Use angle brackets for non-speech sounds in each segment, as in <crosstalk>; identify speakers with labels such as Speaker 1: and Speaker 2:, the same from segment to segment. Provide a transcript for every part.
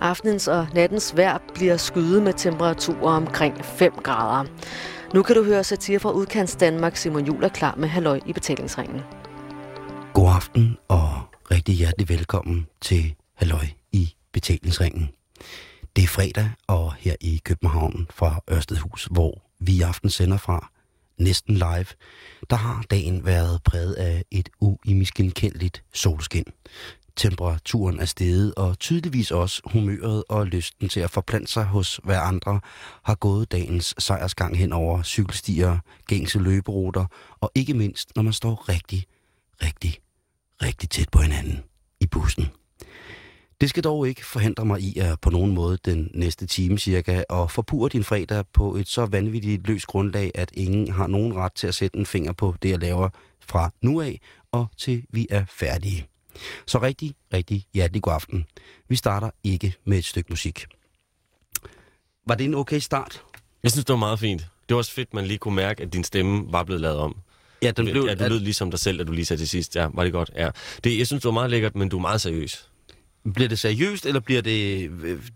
Speaker 1: Aftenens og nattens vejr bliver skyde med temperaturer omkring 5 grader. Nu kan du høre satire fra udkants Danmark. Simon Jul er klar med halløj i betalingsringen.
Speaker 2: God aften og rigtig hjertelig velkommen til Halløj i Betalingsringen. Det er fredag, og her i København fra Ørstedhus, hvor vi i aften sender fra næsten live, der har dagen været præget af et uimiskenkendeligt solskin. Temperaturen er steget, og tydeligvis også humøret og lysten til at forplante sig hos hver andre har gået dagens sejrsgang hen over cykelstier, gængse løberuter, og ikke mindst, når man står rigtig, rigtig, rigtig tæt på hinanden i bussen. Det skal dog ikke forhindre mig i at på nogen måde den næste time cirka og forpure din fredag på et så vanvittigt løst grundlag, at ingen har nogen ret til at sætte en finger på det, jeg laver fra nu af og til vi er færdige. Så rigtig, rigtig hjertelig god aften. Vi starter ikke med et stykke musik. Var det en okay start?
Speaker 3: Jeg synes, det var meget fint. Det var også fedt, man lige kunne mærke, at din stemme var blevet lavet om.
Speaker 2: Ja, den
Speaker 3: ja, du lød ligesom dig selv, at du lige sagde til sidst. Ja, var det godt. Ja. Det, jeg synes, det var meget lækkert, men du er meget seriøs.
Speaker 2: Bliver det seriøst, eller bliver det...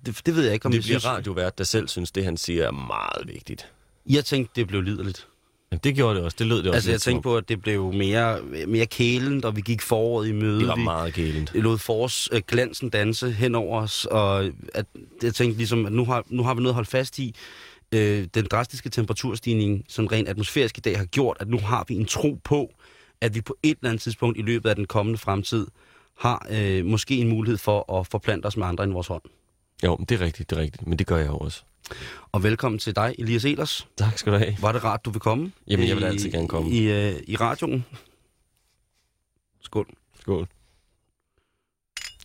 Speaker 2: Det, det ved jeg ikke, om
Speaker 3: det
Speaker 2: jeg
Speaker 3: bliver
Speaker 2: synes.
Speaker 3: radiovært, der selv synes, det han siger er meget vigtigt.
Speaker 2: Jeg tænkte, det blev liderligt.
Speaker 3: Ja, det gjorde det også. Det lød det også.
Speaker 2: Altså, jeg
Speaker 3: lidt
Speaker 2: tænkte
Speaker 3: som om.
Speaker 2: på, at det blev mere, mere kælent, og vi gik foråret i møde.
Speaker 3: Det var
Speaker 2: vi
Speaker 3: meget kælent.
Speaker 2: lod forårsglansen danse hen over os, og at, jeg tænkte ligesom, at nu har, nu har vi noget at holde fast i. Øh, den drastiske temperaturstigning, som rent atmosfærisk i dag har gjort, at nu har vi en tro på, at vi på et eller andet tidspunkt i løbet af den kommende fremtid har øh, måske en mulighed for at forplante os med andre end vores hånd.
Speaker 3: Jo, men det er rigtigt, det er rigtigt. Men det gør jeg jo også.
Speaker 2: Og velkommen til dig, Elias Elers.
Speaker 3: Tak skal du have.
Speaker 2: Var det rart, du vil komme?
Speaker 3: Jamen, jeg vil
Speaker 2: i-
Speaker 3: altid gerne komme.
Speaker 2: I, øh, i radioen. Skål.
Speaker 3: Skål.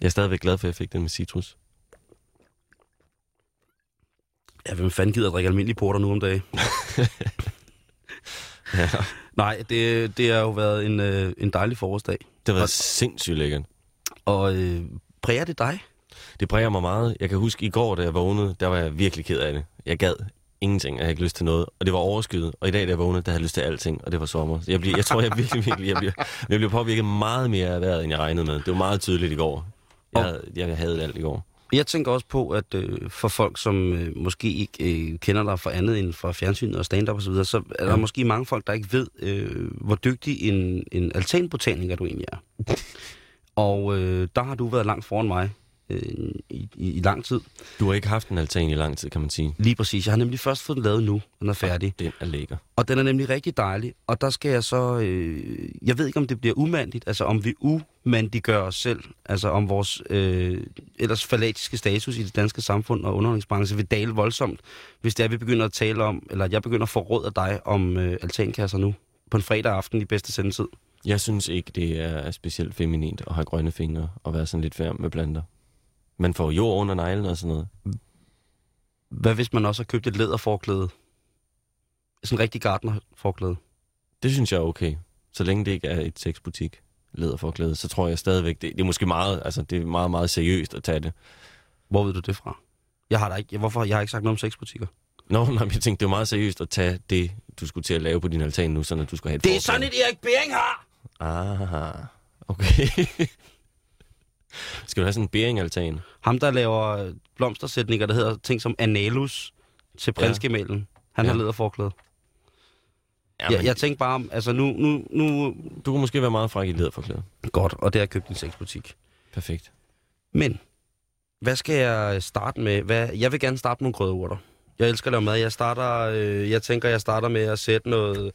Speaker 3: Jeg er stadigvæk glad for, at jeg fik den med citrus.
Speaker 2: Ja, hvem fanden gider at drikke almindelig porter nu om dagen?
Speaker 3: <laughs> Ja.
Speaker 2: Nej, det, det har jo været en, øh, en dejlig forårsdag.
Speaker 3: Det var
Speaker 2: Og-
Speaker 3: sindssygt lækkert.
Speaker 2: Og øh, præger det dig?
Speaker 3: Det præger mig meget. Jeg kan huske, i går, da jeg vågnede, der var jeg virkelig ked af det. Jeg gad ingenting, og jeg havde ikke lyst til noget. Og det var overskyet. Og i dag, da jeg vågnede, der havde jeg lyst til alting, og det var sommer. Så jeg, bliver, jeg tror, jeg virkelig, virkelig jeg bliver, jeg bliver påvirket meget mere af vejret, end jeg regnede med. Det var meget tydeligt i går. Jeg,
Speaker 2: Og-
Speaker 3: havde, jeg havde alt i går.
Speaker 2: Jeg tænker også på, at øh, for folk, som øh, måske ikke øh, kender dig fra andet end fra fjernsynet og stand-up osv., så, videre, så er der
Speaker 3: Ja.
Speaker 2: måske mange folk, der ikke ved, øh, hvor dygtig en, en altanbotaniker du egentlig er. og øh, der har du været langt foran mig øh, i, i, i lang tid.
Speaker 3: Du har ikke haft en altan i lang tid, kan man sige.
Speaker 2: Lige præcis. Jeg har nemlig først fået den lavet nu. Den er færdig.
Speaker 3: Den er lækker.
Speaker 2: Og den er nemlig rigtig dejlig, og der skal jeg så, øh, jeg ved ikke om det bliver umandigt, altså om vi umandiggør os selv, altså om vores øh, ellers falatiske status i det danske samfund og underholdningsbranche vil dale voldsomt, hvis det er, vi begynder at tale om, eller jeg begynder at forråde af dig om øh, altankasser nu, på en fredag aften i bedste sendetid.
Speaker 3: Jeg synes ikke, det er specielt feminint at have grønne fingre og være sådan lidt færm med planter. Man får jord under neglen og sådan noget.
Speaker 2: Hvad hvis man også har købt et læderforklæde? Sådan en rigtig gartnerforklæde.
Speaker 3: Det synes jeg er okay. Så længe det ikke er et sexbutik læderforklæde, så tror jeg stadigvæk, det, det er måske meget, altså det er meget, meget seriøst at tage det.
Speaker 2: Hvor ved du det fra? Jeg har da ikke, hvorfor? Jeg har ikke sagt noget om sexbutikker.
Speaker 3: Nå, <laughs> nej, men jeg tænkte, det er meget seriøst at tage det, du skulle til at lave på din altan nu, sådan at du skal have et forklæde.
Speaker 2: Erik Bering har!
Speaker 3: Ah, <laughs> okay. skal du have sådan en bering-altan?
Speaker 2: Ham, der laver blomstersætninger, der hedder ting som analus til
Speaker 3: Ja.
Speaker 2: prinsgemalen. Han
Speaker 3: Ja.
Speaker 2: har læderforklæde.
Speaker 3: Ja,
Speaker 2: Jeg, jeg tænkte bare om, altså nu, nu, nu...
Speaker 3: Du kunne måske være meget fræk i læderforklæde.
Speaker 2: Godt, og det har jeg købt i en sexbutik.
Speaker 3: Perfekt.
Speaker 2: Men, hvad skal jeg starte med? Hvad, jeg vil gerne starte med nogle krydderurter. Jeg elsker at lave mad. Jeg starter, øh, jeg tænker, jeg starter med at sætte noget...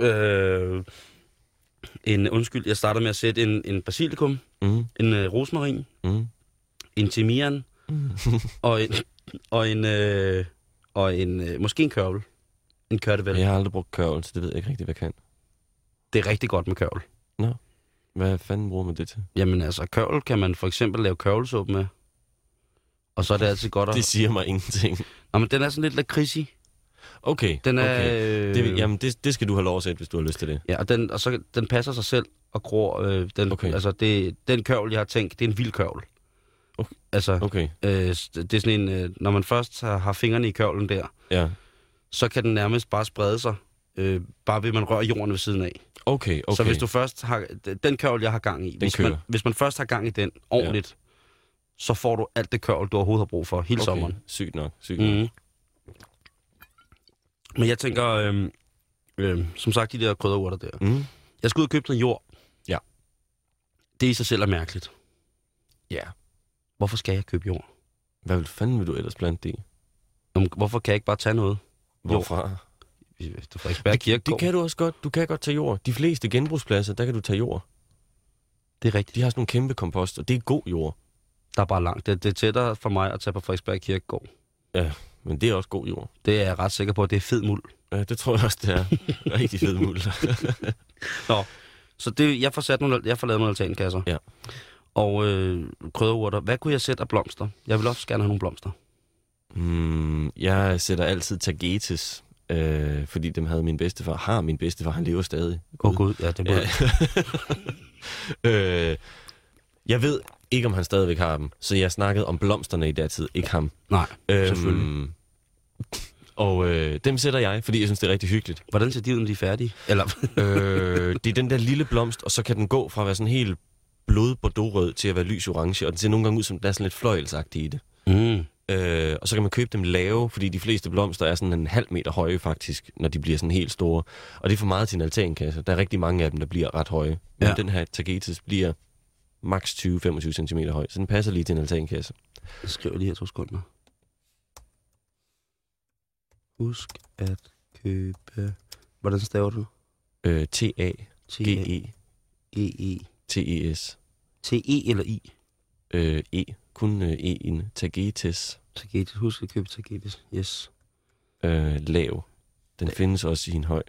Speaker 2: Øh, en, undskyld, jeg starter med at sætte en, en basilikum,
Speaker 3: Mm,
Speaker 2: en øh, rosmarin,
Speaker 3: mm,
Speaker 2: en timian,
Speaker 3: mm.
Speaker 2: og en, og en, øh, og en øh, måske en kørvel. En kørtevel. Ja.
Speaker 3: Jeg har aldrig brugt kørvel, så det ved jeg ikke rigtig, hvad jeg kan.
Speaker 2: Det er rigtig godt med kørvel.
Speaker 3: Hvad fanden bruger man det til?
Speaker 2: Jamen altså, kørvel kan man for eksempel lave kørvelsuppe med. Og så er det altid godt at...
Speaker 3: Det siger mig ingenting.
Speaker 2: Nå, men den er sådan lidt lakridsig.
Speaker 3: Okay,
Speaker 2: Den er...
Speaker 3: okay.
Speaker 2: Øh,
Speaker 3: Det, vil- jamen, det, det skal du have lov at sætte, hvis du har lyst til det.
Speaker 2: Ja, og, den, og så, den passer sig selv og gror. Øh, den,
Speaker 3: Okay.
Speaker 2: okay. Altså, det, den kørvel, jeg har tænkt, det er en vild kørvel.
Speaker 3: Okay.
Speaker 2: Altså,
Speaker 3: Okay,
Speaker 2: øh, s- det er sådan en... Øh, når man først har, har fingrene i kørvelen der,
Speaker 3: ja.
Speaker 2: så kan den nærmest bare sprede sig. Øh, bare ved, at man rører jorden ved siden af.
Speaker 3: Okay, okay.
Speaker 2: Okay. Så hvis du først har... Den kørvel, jeg har gang i, hvis
Speaker 3: kører.
Speaker 2: man, hvis man først har gang i den ordentligt, så får du alt det kørvel, du overhovedet har brug for hele okay. sommeren.
Speaker 3: Sygt nok. Sygt nok. Mm.
Speaker 2: Mm. Men jeg tænker, øhm, øhm, som sagt, de der krydderurter der.
Speaker 3: Mm.
Speaker 2: Jeg skal ud og købe noget jord.
Speaker 3: Ja.
Speaker 2: Det i sig selv er mærkeligt.
Speaker 3: Ja.
Speaker 2: Hvorfor skal jeg købe jord?
Speaker 3: Hvad vil fanden vil du ellers blande det i?
Speaker 2: Jamen, Hvorfor kan jeg ikke bare tage noget?
Speaker 3: Hvorfra?
Speaker 2: Du får ikke kirke.
Speaker 3: Det kan du også godt. Du kan godt tage jord. De fleste genbrugspladser, der kan du tage jord.
Speaker 2: det er rigtigt.
Speaker 3: De har sådan nogle kæmpe komposter. Det er god jord.
Speaker 2: Der er bare langt. Det, det er tættere for mig at tage på Frederiksberg Kirkegård.
Speaker 3: Men det er også god jord.
Speaker 2: Det er jeg ret sikker på, at det er fed muld.
Speaker 3: Ja, det tror jeg også, <laughs> det er. Rigtig fed muld.
Speaker 2: Så det, jeg får, sat nogle, jeg får lavet nogle altankasser.
Speaker 3: Ja.
Speaker 2: Og øh, krydderurter. Hvad kunne jeg sætte af blomster? Jeg vil også gerne have nogle blomster.
Speaker 3: Mm, jeg sætter altid tagetes, øh, fordi dem havde min bedstefar. Har min bedstefar, han lever stadig.
Speaker 2: Åh oh, gud, ja, det må
Speaker 3: Ja. øh, jeg ved ikke, om han stadigvæk har dem, så jeg snakkede om blomsterne i datid, ikke ham. <laughs>
Speaker 2: Nej,
Speaker 3: Øhm.
Speaker 2: selvfølgelig.
Speaker 3: Og øh, dem sætter jeg, fordi jeg synes, det er rigtig hyggeligt.
Speaker 2: Hvordan ser de ud, når de er færdige? Eller, <laughs>
Speaker 3: øh, det er den der lille blomst, og så kan den gå fra at være sådan helt blod bordeaux-rød til at være lys orange, og den ser nogle gange ud som, der er sådan lidt fløjelsagtig i det.
Speaker 2: mm.
Speaker 3: Øh, og så kan man købe dem lave, fordi de fleste blomster er sådan en halv meter høje faktisk, når de bliver sådan helt store. Og det er for meget til en altankasse. Der er rigtig mange af dem, der bliver ret høje. Men
Speaker 2: Ja.
Speaker 3: ja. den her tagetes bliver maks 20-25 cm høj, så den passer lige til en altankasse.
Speaker 2: Jeg skriver lige her to sekunder. Husk at købe... Hvordan staver du?
Speaker 3: Øh, T-A-G-E-T-E-S. E.
Speaker 2: E. T-E eller I?
Speaker 3: Øh, e. Kun øh, E en tagetes
Speaker 2: Tagetes. Husk at købe tagetes. Yes.
Speaker 3: øh, lav. Den findes også i en høj.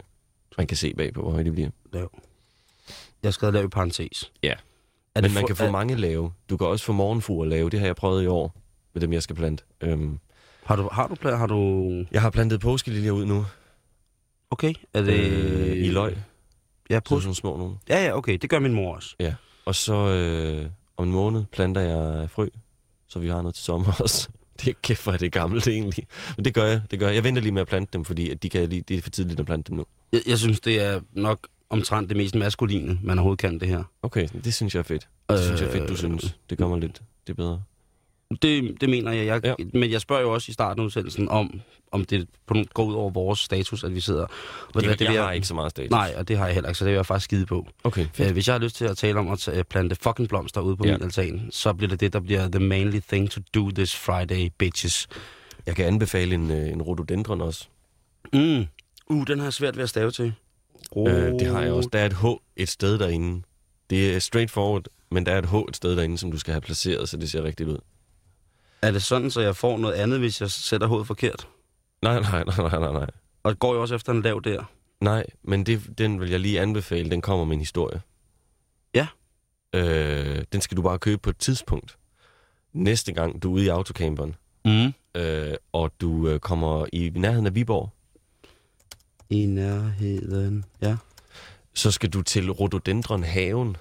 Speaker 3: Man kan se bagpå, hvor høj det bliver.
Speaker 2: Lav. Jeg skal lave i parentes.
Speaker 3: Ja.
Speaker 2: Er
Speaker 3: Men
Speaker 2: det
Speaker 3: man
Speaker 2: for-
Speaker 3: kan få
Speaker 2: er,
Speaker 3: mange lave. Du kan også få morgenfruer lave. Det har jeg prøvet i år med dem, jeg skal plante. Øhm,
Speaker 2: Har du, har du, pla- har du...
Speaker 3: jeg har plantet påskeliljer ud nu.
Speaker 2: Okay. Er det...
Speaker 3: Øh, I løg.
Speaker 2: Ja,
Speaker 3: På
Speaker 2: pos-
Speaker 3: sådan små nogle.
Speaker 2: ja, ja, okay. Det gør min mor også.
Speaker 3: Og så øh, om en måned planter jeg frø, så vi har noget til sommer <laughs> også. Det er kæft, hvor er det gammelt egentlig. Men det gør jeg, det gør jeg. Jeg venter lige med at plante dem, fordi at de kan lige, det er for tidligt at plante dem nu.
Speaker 2: Jeg, jeg synes, det er nok omtrent det mest maskuline, man overhovedet kan det her.
Speaker 3: Okay, det synes jeg er fedt. Det synes jeg er fedt, du
Speaker 2: Øh,
Speaker 3: synes. Det gør mig lidt, det er bedre.
Speaker 2: Det, det mener jeg. jeg ja.
Speaker 3: Ja.
Speaker 2: Men jeg spørger jo også i starten af udsendelsen om, om det på nogen, går ud over vores status, at vi sidder... Ved du hvad,
Speaker 3: Det, jeg
Speaker 2: vil
Speaker 3: har ikke så meget status.
Speaker 2: Nej, og det har jeg heller ikke, så det vil jeg faktisk skide på.
Speaker 3: Okay, fedt.
Speaker 2: Øh, hvis jeg har lyst til at tale om at øh, plante fucking blomster ude på ja.
Speaker 3: Ja.
Speaker 2: min altan, så bliver det det, der bliver the manly thing to do this Friday, bitches.
Speaker 3: Jeg kan anbefale en, øh, en rhododendron også.
Speaker 2: Mm. Uh, den har jeg svært ved at stave til. Oh.
Speaker 3: Øh, det har jeg også. Der er et H et sted derinde. Det er straightforward, men der er et H et sted derinde, som du skal have placeret, så det ser rigtigt ud.
Speaker 2: Er det sådan, så jeg får noget andet, hvis jeg sætter hovedet forkert?
Speaker 3: Nej, nej, nej, nej, nej, nej.
Speaker 2: Og går jo også efter en lav der.
Speaker 3: Nej, men det, den vil jeg lige anbefale. Den kommer med en historie.
Speaker 2: Ja.
Speaker 3: Øh, den skal du bare købe på et tidspunkt. Næste gang du er ude i autocamperen,
Speaker 2: Mm.
Speaker 3: øh, og du øh, kommer i nærheden af Viborg,
Speaker 2: I nærheden. Ja.
Speaker 3: så skal du til Rhododendron Haven,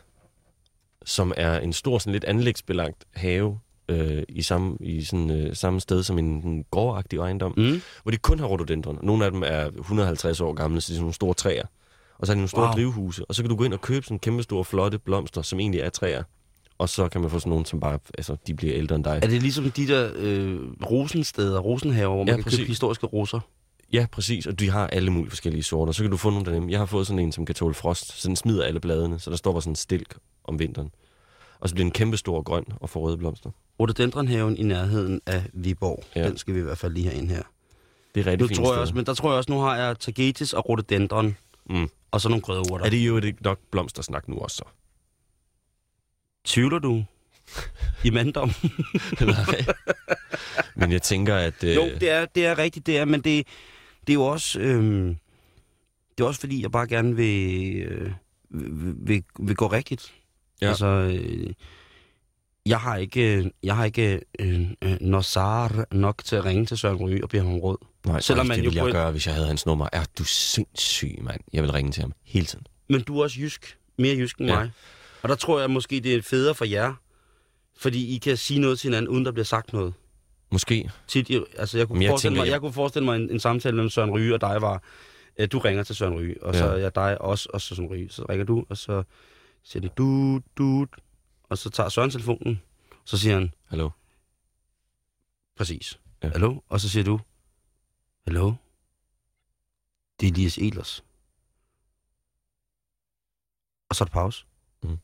Speaker 3: som er en stor, sådan lidt anlægsbelagt have øh, i, samme, i sådan, øh, samme sted som en, en gårdagtig ejendom, mm.
Speaker 2: Mm.
Speaker 3: hvor de kun har rhododendron. Nogle af dem er 150 år gamle, så det er sådan nogle store træer. Og så er de nogle store
Speaker 2: Wow.
Speaker 3: wow. drivhuse, og så kan du gå ind og købe sådan kæmpe store, flotte blomster, som egentlig er træer. Og så kan man få sådan nogle, som bare, altså, de bliver ældre end dig.
Speaker 2: Er det ligesom de der øh, rosensteder, rosenhaver, hvor man ja,
Speaker 3: Ja,
Speaker 2: kan
Speaker 3: præcis.
Speaker 2: købe historiske roser?
Speaker 3: Ja, præcis, og de har alle mulige forskellige sorter. Så kan du få nogle af dem. Jeg har fået sådan en, som kan tåle frost, så den smider alle bladene, så der står bare sådan en stilk om vinteren. Og så bliver den kæmpestor og grøn og får røde blomster.
Speaker 2: Rhododendronhaven i nærheden af Viborg. Ja.
Speaker 3: Ja.
Speaker 2: Den skal vi i hvert fald lige have ind her.
Speaker 3: Det er
Speaker 2: Nu
Speaker 3: rigtig fint
Speaker 2: tror jeg også, men der tror jeg også, nu har jeg tagetes og rhododendron,
Speaker 3: Mm.
Speaker 2: og så nogle krydderurter.
Speaker 3: Er det jo ikke nok blomstersnak nu også? så?
Speaker 2: Tvivler
Speaker 3: <laughs>
Speaker 2: du i manddom?
Speaker 3: Nej. Men jeg tænker, at... Øh,
Speaker 2: jo, det er, det er rigtigt, det er, men det, det er jo også... Øhm, det er også fordi, jeg bare gerne vil, øh, vil, vil, vil gå rigtigt.
Speaker 3: Ja.
Speaker 2: Altså, øh, jeg har ikke, jeg har ikke øh, øh, Nossar nok til at ringe til Søren Ryge og bede ham om råd.
Speaker 3: Nej,
Speaker 2: selvom
Speaker 3: selvom
Speaker 2: man
Speaker 3: man det
Speaker 2: jo
Speaker 3: ville
Speaker 2: på
Speaker 3: jeg
Speaker 2: en-
Speaker 3: gøre, hvis jeg havde hans nummer. Er du sindssyg, mand? Jeg vil ringe til ham hele tiden.
Speaker 2: Men du er også jysk. Mere jysk end ja.
Speaker 3: Ja.
Speaker 2: mig. Og der tror jeg måske, det er federe for jer. Fordi I kan sige noget til hinanden, uden der bliver sagt noget.
Speaker 3: Måske.
Speaker 2: Tit, I- altså, jeg, kunne
Speaker 3: Men jeg
Speaker 2: jeg, forestille
Speaker 3: tænker,
Speaker 2: mig, jeg...
Speaker 3: jeg-
Speaker 2: kunne forestille mig en, en samtale mellem Søren Ryge og dig var, øh, du ringer til Søren Ryge, og så
Speaker 3: Ja.
Speaker 2: er jeg dig også, og så Søren Ryge. Så ringer du, og så siger den, du, du, og så tager Søren telefonen. Så siger han,
Speaker 3: Hallo.
Speaker 2: præcis,
Speaker 3: Ja.
Speaker 2: ja. hallo? Og så siger du, hallo? Det er Elias Elers. Og så er der pause.
Speaker 3: Mhm.
Speaker 2: Mm.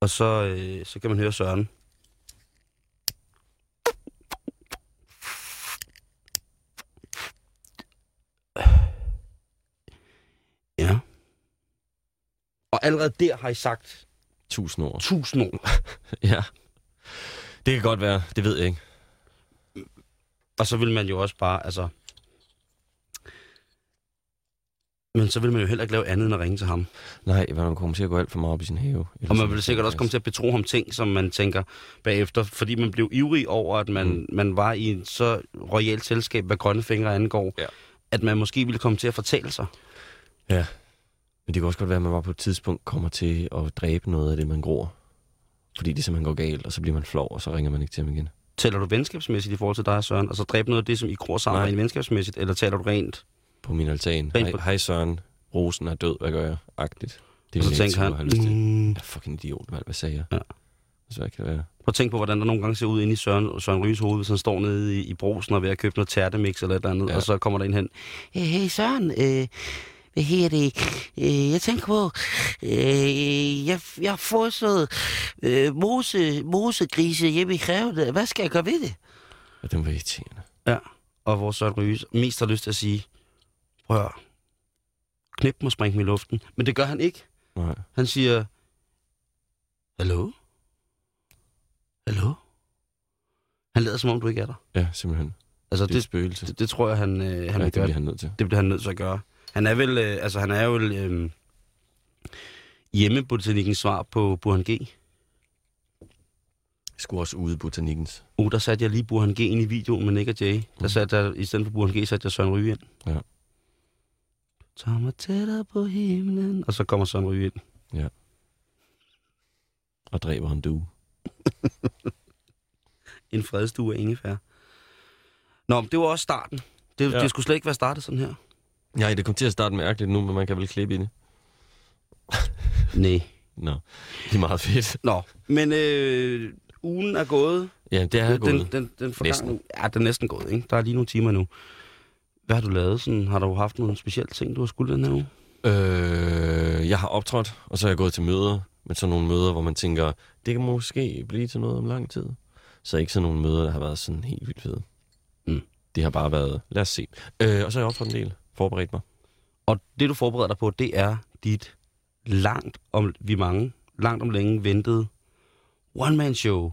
Speaker 2: Og så, øh, så kan man høre Søren. Ja. Og allerede der har I sagt
Speaker 3: Tusind ord. <laughs>
Speaker 2: tusind ord.
Speaker 3: Ja. Det kan godt være. Det ved jeg ikke.
Speaker 2: Og så vil man jo også bare, altså... Men så vil man jo heller ikke lave andet end at ringe til ham.
Speaker 3: Nej, man kommer til at gå alt for meget op i sin have. Eller
Speaker 2: Og man
Speaker 3: sådan.
Speaker 2: vil sikkert også komme til at betro ham ting, som man tænker bagefter, fordi man blev ivrig over, at man,
Speaker 3: Mm.
Speaker 2: mm. man var i en så royalt selskab, hvad grønne fingre angår,
Speaker 3: Ja.
Speaker 2: at man måske ville komme til at fortælle sig.
Speaker 3: Men det kan også godt være, at man bare på et tidspunkt kommer til at dræbe noget af det, man gror. Fordi det simpelthen går galt, og så bliver man flov, og så ringer man ikke til ham igen.
Speaker 2: Tæller du venskabsmæssigt i forhold til dig, Søren, og så dræbe noget af det, som I gror sammen
Speaker 3: Nej.
Speaker 2: rent venskabsmæssigt, eller taler du rent?
Speaker 3: På min altan.
Speaker 2: Rent
Speaker 3: Hej,
Speaker 2: på-
Speaker 3: hej Søren. Rosen er død. Hvad gør jeg? Agtigt. Det
Speaker 2: Og
Speaker 3: vil
Speaker 2: så
Speaker 3: jeg ikke
Speaker 2: tænker han,
Speaker 3: tro, jeg har lyst til.
Speaker 2: mm,
Speaker 3: Jeg er fucking idiot, mand. Hvad sagde jeg?
Speaker 2: Ja.
Speaker 3: Hvad kan det være?
Speaker 2: prøv at tænke på, hvordan der nogle gange ser ud inde i Søren, Søren Ryges hoved, hvis han står nede i, i brosen og er ved at købe noget tærtemix eller et eller andet,
Speaker 3: Ja.
Speaker 2: ja. og så kommer der en hen. Hey, hey Søren, øh, hvad her det? Øh, jeg tænker på, øh, jeg, jeg har foreslået øh, mose, mosegrise hjemme i krævet. Hvad skal jeg gøre ved det?
Speaker 3: Og den var irriterende.
Speaker 2: Ja, og hvor Søren Ryges mest har lyst til at sige, prøv at høre, knip mig og spring mig i luften. Men det gør han ikke.
Speaker 3: Nej.
Speaker 2: Han siger, Hallo? Hallo? Han lader som om, du ikke er der.
Speaker 3: Ja, simpelthen.
Speaker 2: Altså,
Speaker 3: Det er et
Speaker 2: det,
Speaker 3: spøgelse.
Speaker 2: det, det tror jeg, han, øh, han
Speaker 3: Han
Speaker 2: ja,
Speaker 3: ja,
Speaker 2: vil
Speaker 3: det
Speaker 2: gøre.
Speaker 3: bliver han nødt til.
Speaker 2: Det bliver han nødt til at gøre. Han er vel, øh, altså, han er jo øh, hjemmebotanikkens svar på Burhan G.
Speaker 3: Jeg skulle også ude i botanikkens.
Speaker 2: Uh, der satte jeg lige Burhan G ind i videoen med Nick og Jay.
Speaker 3: Mm.
Speaker 2: Der satte jeg, i stedet for Burhan G, satte jeg Søren Ryge ind.
Speaker 3: Ja.
Speaker 2: Tag mig tættere på himlen. Og så kommer Søren Ryge ind.
Speaker 3: Og dræber han du.
Speaker 2: En fredstue af ingefær. Nå, men det var også starten. Det,
Speaker 3: Ja.
Speaker 2: ja. det skulle slet ikke være startet sådan her.
Speaker 3: Nej, det kom til at starte mærkeligt nu, men man kan vel klippe i det.
Speaker 2: Nej.
Speaker 3: Nå, det er meget fedt.
Speaker 2: Nå, men øh, ugen er gået.
Speaker 3: Ja, det er
Speaker 2: Den, den,
Speaker 3: gået.
Speaker 2: den, den
Speaker 3: Næsten.
Speaker 2: næsten. Ja, den er næsten gået, ikke? Der er lige nogle timer nu. Hvad har du lavet? Sådan, har du haft nogle specielle ting, du har skulle den her uge?
Speaker 3: Øh, jeg har optrådt, og så er jeg gået til møder. Men sådan nogle møder, hvor man tænker, det kan måske blive til noget om lang tid. Så ikke sådan nogle møder, der har været sådan helt vildt fede.
Speaker 2: Mm.
Speaker 3: Det har bare været, lad os se. Øh, og så har jeg optrådt en del. Forberedt mig.
Speaker 2: Og det, du forbereder dig på, det er dit langt om, vi er mange, langt om længe ventede one-man-show.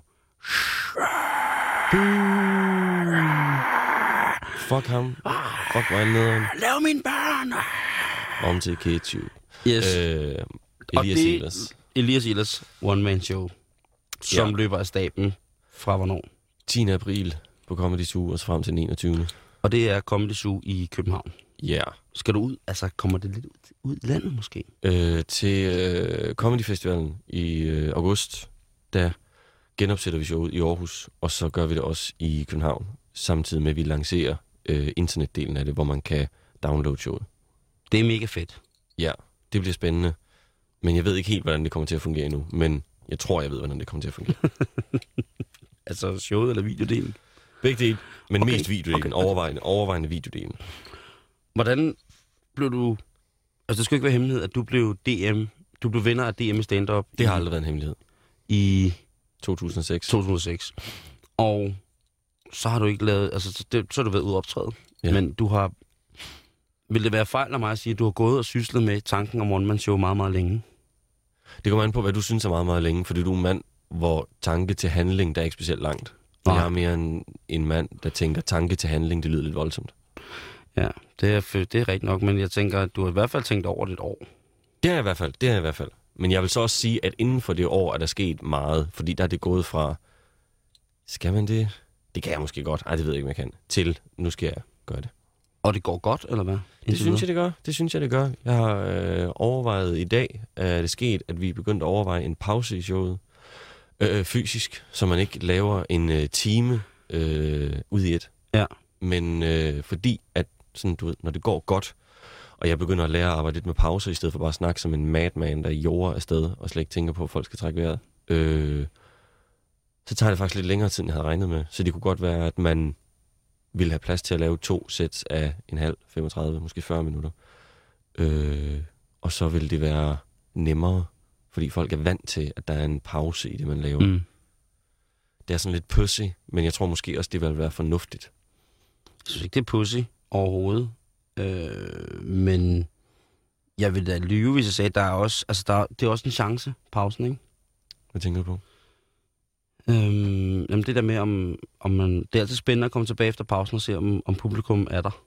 Speaker 3: Fuck ham. Fuck mig nederen.
Speaker 2: Lav mine børn!
Speaker 3: Om til K20.
Speaker 2: Yes, øh,
Speaker 3: Øh,
Speaker 2: Og
Speaker 3: Elias
Speaker 2: det-
Speaker 3: Elers.
Speaker 2: Elias Ehlers one-man-show, som
Speaker 3: Ja.
Speaker 2: ja. løber af staben fra hvornår.
Speaker 3: 10. april på Comedy Zoo, og så frem til den 21.
Speaker 2: Og det er Comedy Zoo i København.
Speaker 3: Ja. Yeah.
Speaker 2: Skal du ud? Altså, kommer det lidt ud, ud i landet måske?
Speaker 3: øh, til øh, Comedy Festivalen i øh, august, der genopsætter vi showet i Aarhus, og så gør vi det også i København, samtidig med, at vi lancerer øh, internetdelen af det, hvor man kan downloade showet.
Speaker 2: Det er mega fedt.
Speaker 3: Ja, det bliver spændende, men jeg ved ikke helt, hvordan det kommer til at fungere endnu, men jeg tror, jeg ved, hvordan det kommer til at fungere.
Speaker 2: Altså, showet eller videodelen.
Speaker 3: Begge dele, men okay.
Speaker 2: Okay,
Speaker 3: mest videodelen, okay. overvejende, overvejende videodelen.
Speaker 2: Hvordan blev du... Altså, det skal jo ikke være hemmelighed, at du blev DM... Du blev vinder af DM i stand-up
Speaker 3: Det har
Speaker 2: i-
Speaker 3: aldrig været en hemmelighed.
Speaker 2: i
Speaker 3: 2006.
Speaker 2: 2006. Og så har du ikke lavet... Altså, så- det, så har du været ude at optræde.
Speaker 3: Ja.
Speaker 2: Ja. Men du har... Vil det være fejl af mig at sige, at du har gået og syslet med tanken om one show meget, meget længe?
Speaker 3: Det kommer an på, hvad du synes er meget, meget længe, fordi du er en mand, hvor tanke til handling, der er ikke specielt langt. Og
Speaker 2: Nej.
Speaker 3: jeg er mere en, en mand, der tænker tanke til handling, det lyder lidt voldsomt.
Speaker 2: Ja, det er, f- det er rigtigt nok, men jeg tænker, at du har i hvert fald tænkt over det et år.
Speaker 3: Det er jeg i hvert fald, det er jeg i hvert fald. Men jeg vil så også sige, at inden for det år er der sket meget, fordi der er det gået fra, skal man det? Det kan jeg måske godt, ej det ved jeg ikke, om jeg kan, til nu skal jeg gøre det.
Speaker 2: Og det går godt, eller hvad?
Speaker 3: Det synes jeg, det gør. Det synes jeg, det gør. Jeg har øh, overvejet i dag, at det er sket, at vi er begyndt at overveje en pause i showet. Øh, øh, fysisk, så man ikke laver en øh, time øh, ud i et.
Speaker 2: Ja.
Speaker 3: Men øh, fordi, at sådan, du ved, når det går godt, og jeg begynder at lære at arbejde lidt med pauser, i stedet for bare at snakke som en madman, der jorder afsted, og slet ikke tænker på, at folk skal trække vejret, øh, så tager det faktisk lidt længere tid, end jeg havde regnet med. Så det kunne godt være, at man ville have plads til at lave to sæt af en halv, 35, måske 40 minutter. Øh, og så ville det være nemmere, fordi folk er vant til, at der er en pause i det, man laver. Mm.
Speaker 2: Mm.
Speaker 3: Det er sådan lidt pussy, men jeg tror måske også, det ville være fornuftigt.
Speaker 2: Jeg synes ikke, det er pussy overhovedet. Øh, men jeg vil da lyve, hvis jeg sagde, at der er også, altså der, er- det er også en chance, pausen, ikke?
Speaker 3: Hvad tænker du på?
Speaker 2: Øhm, jamen det der med, om, om man, det er altid spændende at komme tilbage efter pausen og se, om, om publikum er der.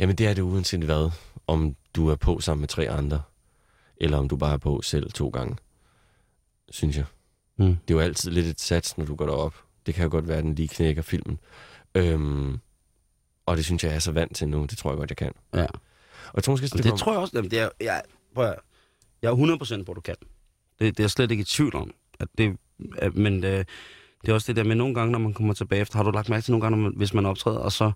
Speaker 3: Jamen det er det uanset hvad, om du er på sammen med tre andre, eller om du bare er på selv to gange, synes jeg.
Speaker 2: Mm.
Speaker 3: Det er jo altid lidt et sats, når du går derop. Det kan jo godt være, at den lige knækker filmen. Øhm, og det synes jeg, jeg er så vant til nu. Det tror jeg godt, jeg kan.
Speaker 2: Ja.
Speaker 3: Og jeg tror måske,
Speaker 2: Det,
Speaker 3: det,
Speaker 2: det
Speaker 3: kom-
Speaker 2: tror jeg også. Jamen, det er, jeg, prøv at, høre. jeg er 100% på, du kan. Det, det er jeg slet ikke i tvivl om. At det, at, men det, det er også det der med nogle gange, når man kommer tilbage efter, har du lagt mærke til nogle gange, når man, hvis man optræder, og så,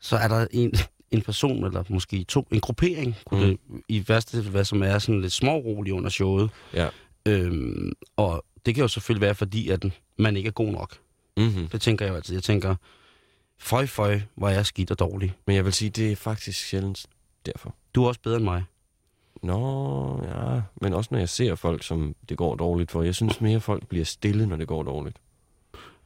Speaker 2: så er der en, en person, eller måske to, en gruppering, kunne mm. det i værste tilfælde være, som er sådan lidt smårolig under showet.
Speaker 3: Ja.
Speaker 2: Øhm, og det kan jo selvfølgelig være, fordi at man ikke er god nok.
Speaker 3: Mm-hmm.
Speaker 2: Det tænker jeg jo altid. Jeg tænker, føj føj, hvor er jeg skidt og dårlig.
Speaker 3: Men jeg vil sige, det er faktisk sjældent derfor.
Speaker 2: Du er også bedre end mig.
Speaker 3: Nå, ja. Men også når jeg ser folk, som det går dårligt for. Jeg synes mere, folk bliver stille, når det går dårligt.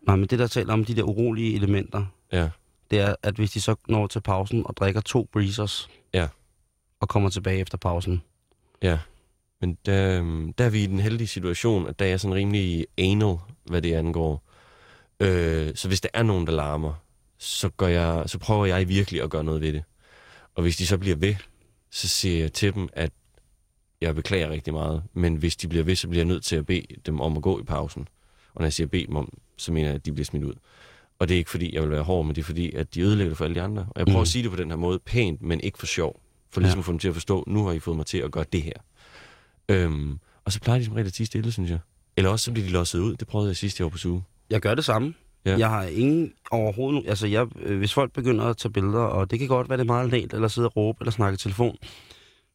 Speaker 2: Nej, men det der taler om de der urolige elementer,
Speaker 3: Ja.
Speaker 2: det er, at hvis de så når til pausen og drikker to breezers,
Speaker 3: Ja.
Speaker 2: og kommer tilbage efter pausen,
Speaker 3: Ja, men der, øhm, der er vi i den heldige situation, at der er jeg sådan rimelig anal, hvad det angår. Øh, så hvis der er nogen, der larmer, så, gør jeg, så prøver jeg virkelig at gøre noget ved det. Og hvis de så bliver ved, så siger jeg til dem, at jeg beklager rigtig meget, men hvis de bliver ved, så bliver jeg nødt til at bede dem om at gå i pausen. Og når jeg siger bede dem om, så mener jeg, at de bliver smidt ud. Og det er ikke fordi, jeg vil være hård, men det er fordi, at de ødelægger det for alle de andre. Og jeg
Speaker 2: Mm.
Speaker 3: prøver mm. at sige det på den her måde, pænt, men ikke for sjov. For
Speaker 2: Ja.
Speaker 3: ligesom ja. at få dem til at forstå, nu har I fået mig til at gøre det her. Øhm, og så plejer de som regel at tige stille, synes jeg. Eller også så bliver de losset ud. Det prøvede jeg sidste år på suge.
Speaker 2: jeg gør det samme.
Speaker 3: Ja.
Speaker 2: Jeg har ingen overhovedet... Altså, jeg, øh, hvis folk begynder at tage billeder, og det kan godt være, det er meget lænt, eller sidde og råbe, eller snakke i telefon,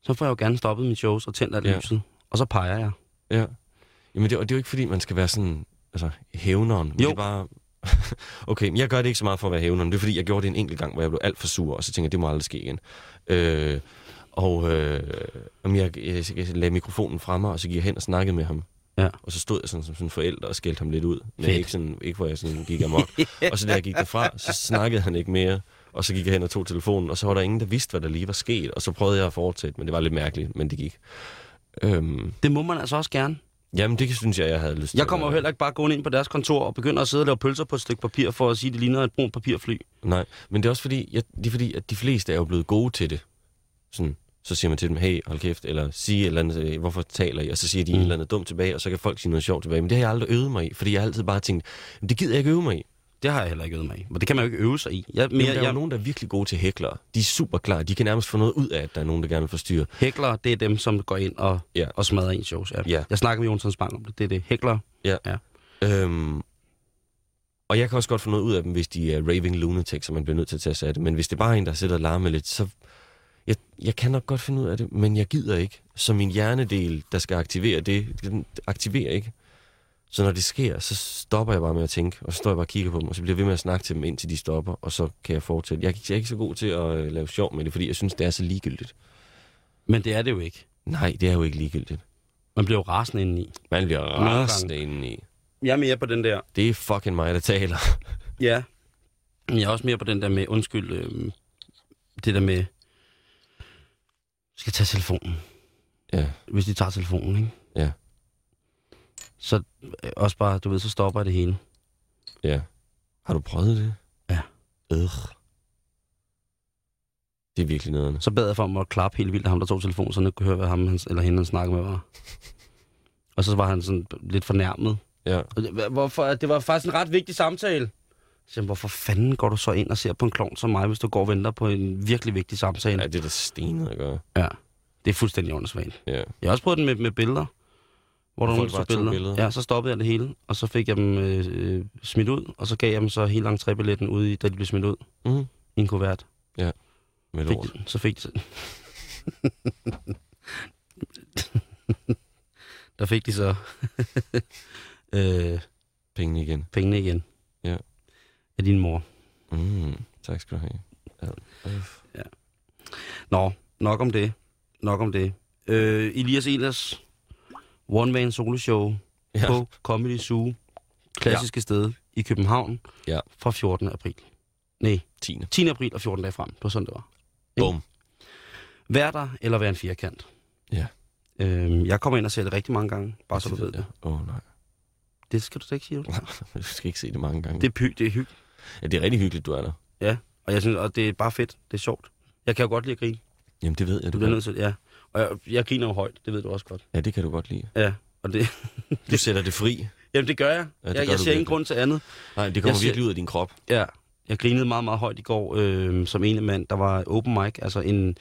Speaker 2: så får jeg jo gerne stoppet mine shows og tændt alt
Speaker 3: Ja.
Speaker 2: ja. lyset. Og så peger jeg.
Speaker 3: Ja. Jamen, det, og det er jo ikke, fordi man skal være sådan, altså, hævneren. Men
Speaker 2: Jo.
Speaker 3: Det er bare... <laughs> okay, men jeg gør det ikke så meget for at være hævneren. Det er, fordi jeg gjorde det en enkelt gang, hvor jeg blev alt for sur, og så tænkte jeg, det må aldrig ske igen. Øh, og øh, jamen, jeg, jeg, jeg lagde mikrofonen fremme, og så gik jeg hen og snakkede med ham.
Speaker 2: Ja.
Speaker 3: Og så stod jeg sådan, som sådan en forælder og skældte ham lidt ud. Men
Speaker 2: Fedt.
Speaker 3: ikke, sådan, ikke hvor jeg sådan
Speaker 2: <laughs>
Speaker 3: gik amok. og så da jeg gik derfra, så snakkede han ikke mere. Og så gik jeg hen og tog telefonen, og så var der ingen, der vidste, hvad der lige var sket. Og så prøvede jeg at fortsætte, men det var lidt mærkeligt, men det gik. Øhm,
Speaker 2: Det må man altså også gerne.
Speaker 3: Jamen, det synes jeg, jeg havde lyst til.
Speaker 2: Jeg kommer jo heller ikke bare gående ind på deres kontor og begynder at sidde og lave pølser på et stykke papir for at sige, at det ligner et brunt papirfly.
Speaker 3: Nej, men det er også fordi, jeg, det er fordi, at de fleste er jo blevet gode til det. Sådan, så siger man til dem, hey, hold kæft, eller sig et eller andet, øh, hvorfor taler I? Og så siger de mm. et eller andet dumt tilbage, og så kan folk sige noget sjovt tilbage. Men det har jeg aldrig øvet mig i, fordi jeg har altid bare tænkt, "Jamen, det gider jeg ikke øve mig i.
Speaker 2: Det har jeg heller ikke øvet mig i. Men det kan man jo ikke øve sig i. Jeg,
Speaker 3: Men
Speaker 2: mere,
Speaker 3: der er
Speaker 2: jeg,
Speaker 3: jo nogen, der er virkelig gode til hæklere. De er super klar. De kan nærmest få noget ud af, at der er nogen, der gerne vil forstyrre.
Speaker 2: Hæklere, det er dem, som går ind og,
Speaker 3: Ja.
Speaker 2: ja. og smadrer ens shows. Ja.
Speaker 3: Ja.
Speaker 2: Jeg snakker med Jonsson Spang om det. Det er det. Hæklere.
Speaker 3: Øhm, og jeg kan også godt få noget ud af dem, hvis de er raving lunatics, så man bliver nødt til at tage sig af det. Men hvis det bare er en, der sidder og larmer lidt, så... Jeg, jeg kan nok godt finde ud af det, men jeg gider ikke. Så min hjernedel, der skal aktivere det, den aktiverer ikke. Så når det sker, så stopper jeg bare med at tænke, og så står jeg bare og kigger på dem, og så bliver jeg ved med at snakke til dem, indtil de stopper, og så kan jeg fortsætte. Jeg, jeg er ikke så god til at øh, lave sjov med det, fordi jeg synes, det er så ligegyldigt.
Speaker 2: Men det er det jo ikke.
Speaker 3: Nej, det er jo ikke ligegyldigt.
Speaker 2: Man bliver jo rasende indeni.
Speaker 3: Man bliver
Speaker 2: gange.
Speaker 3: rasende indeni.
Speaker 2: Jeg er mere på den der.
Speaker 3: Det er fucking mig, der taler.
Speaker 2: Ja. Men Jeg er også mere på den der med, undskyld, øhm, det der med, Jeg skal tage telefonen.
Speaker 3: Ja.
Speaker 2: Hvis de tager telefonen, ikke?
Speaker 3: Ja.
Speaker 2: Så øh, også bare, du ved, så stopper jeg det hele.
Speaker 3: Ja. Har du prøvet det?
Speaker 2: Ja.
Speaker 3: Øh. Det er virkelig nederne.
Speaker 2: Så bad jeg for mig at klappe helt vildt af ham, der tog telefonen, så han ikke kunne høre, hvad ham han, eller hende han snakkede med var. Og så var han sådan lidt fornærmet.
Speaker 3: Ja.
Speaker 2: Og det- hva- Hvorfor? Det var faktisk en ret vigtig samtale. Så jeg, hvorfor fanden går du så ind og ser på en klovn som mig, hvis du går og venter på en virkelig vigtig samtale?
Speaker 3: ja, det er da stenet at gøre.
Speaker 2: Ja. Det er fuldstændig åndssvagt.
Speaker 3: Ja.
Speaker 2: Jeg har også prøvet den med, med billeder. Hvor der var
Speaker 3: Folk
Speaker 2: nogen, der
Speaker 3: bare
Speaker 2: tog
Speaker 3: tog
Speaker 2: billeder.
Speaker 3: billeder.
Speaker 2: Ja, så stoppede jeg det hele, og så fik jeg dem øh, øh, smidt ud, og så gav jeg dem så hele entrébilletten ude i, da de blev smidt ud
Speaker 3: Mm.
Speaker 2: i en kuvert.
Speaker 3: Med
Speaker 2: Fik,
Speaker 3: lort.
Speaker 2: så fik de... <laughs> der fik de så <laughs> øh,
Speaker 3: pengene igen.
Speaker 2: Pengene igen.
Speaker 3: Ja.
Speaker 2: Af din mor.
Speaker 3: Mm, tak skal du have. Ja. Øf.
Speaker 2: Nå, nok om det. Nok om det. Øh, Elias Elers One Man Solo Show ja.
Speaker 3: Ja.
Speaker 2: på Comedy Zoo, klassiske ja. sted i København,
Speaker 3: Ja.
Speaker 2: fra 14. april. Nej,
Speaker 3: 10.
Speaker 2: 10. april og 14 dage frem. Det var sådan, det var. Ikke?
Speaker 3: Bum.
Speaker 2: Vær der, eller vær en firkant.
Speaker 3: Ja.
Speaker 2: Øhm, jeg kommer ind og ser det rigtig mange gange, bare så du ved det.
Speaker 3: jeg. Åh, oh, nej.
Speaker 2: Det skal du da ikke sige. du.
Speaker 3: Du skal ikke se det mange gange.
Speaker 2: Det
Speaker 3: Det...
Speaker 2: er, py, det er hyggeligt,
Speaker 3: Ja, det er rigtig hyggeligt, du er der.
Speaker 2: og, jeg synes, og det er bare fedt. Det er sjovt. Jeg kan jo godt lide at grine.
Speaker 3: Jamen, det ved jeg,
Speaker 2: Du
Speaker 3: du
Speaker 2: bliver
Speaker 3: kan.
Speaker 2: nødt til, ja. Og jeg, jeg griner jo højt, det ved du også godt.
Speaker 3: Ja, det kan du godt lide.
Speaker 2: Ja, og det, <laughs>
Speaker 3: Du sætter det fri.
Speaker 2: jamen det gør jeg.
Speaker 3: Ja, det
Speaker 2: jeg,
Speaker 3: gør
Speaker 2: jeg
Speaker 3: du
Speaker 2: ser ingen
Speaker 3: virkelig.
Speaker 2: grund til andet.
Speaker 3: Nej, det kommer
Speaker 2: Jeg ser-
Speaker 3: virkelig ud af din krop.
Speaker 2: Ja, jeg grinede meget, meget højt i går øh, som ene mand. Der var open mic, altså en,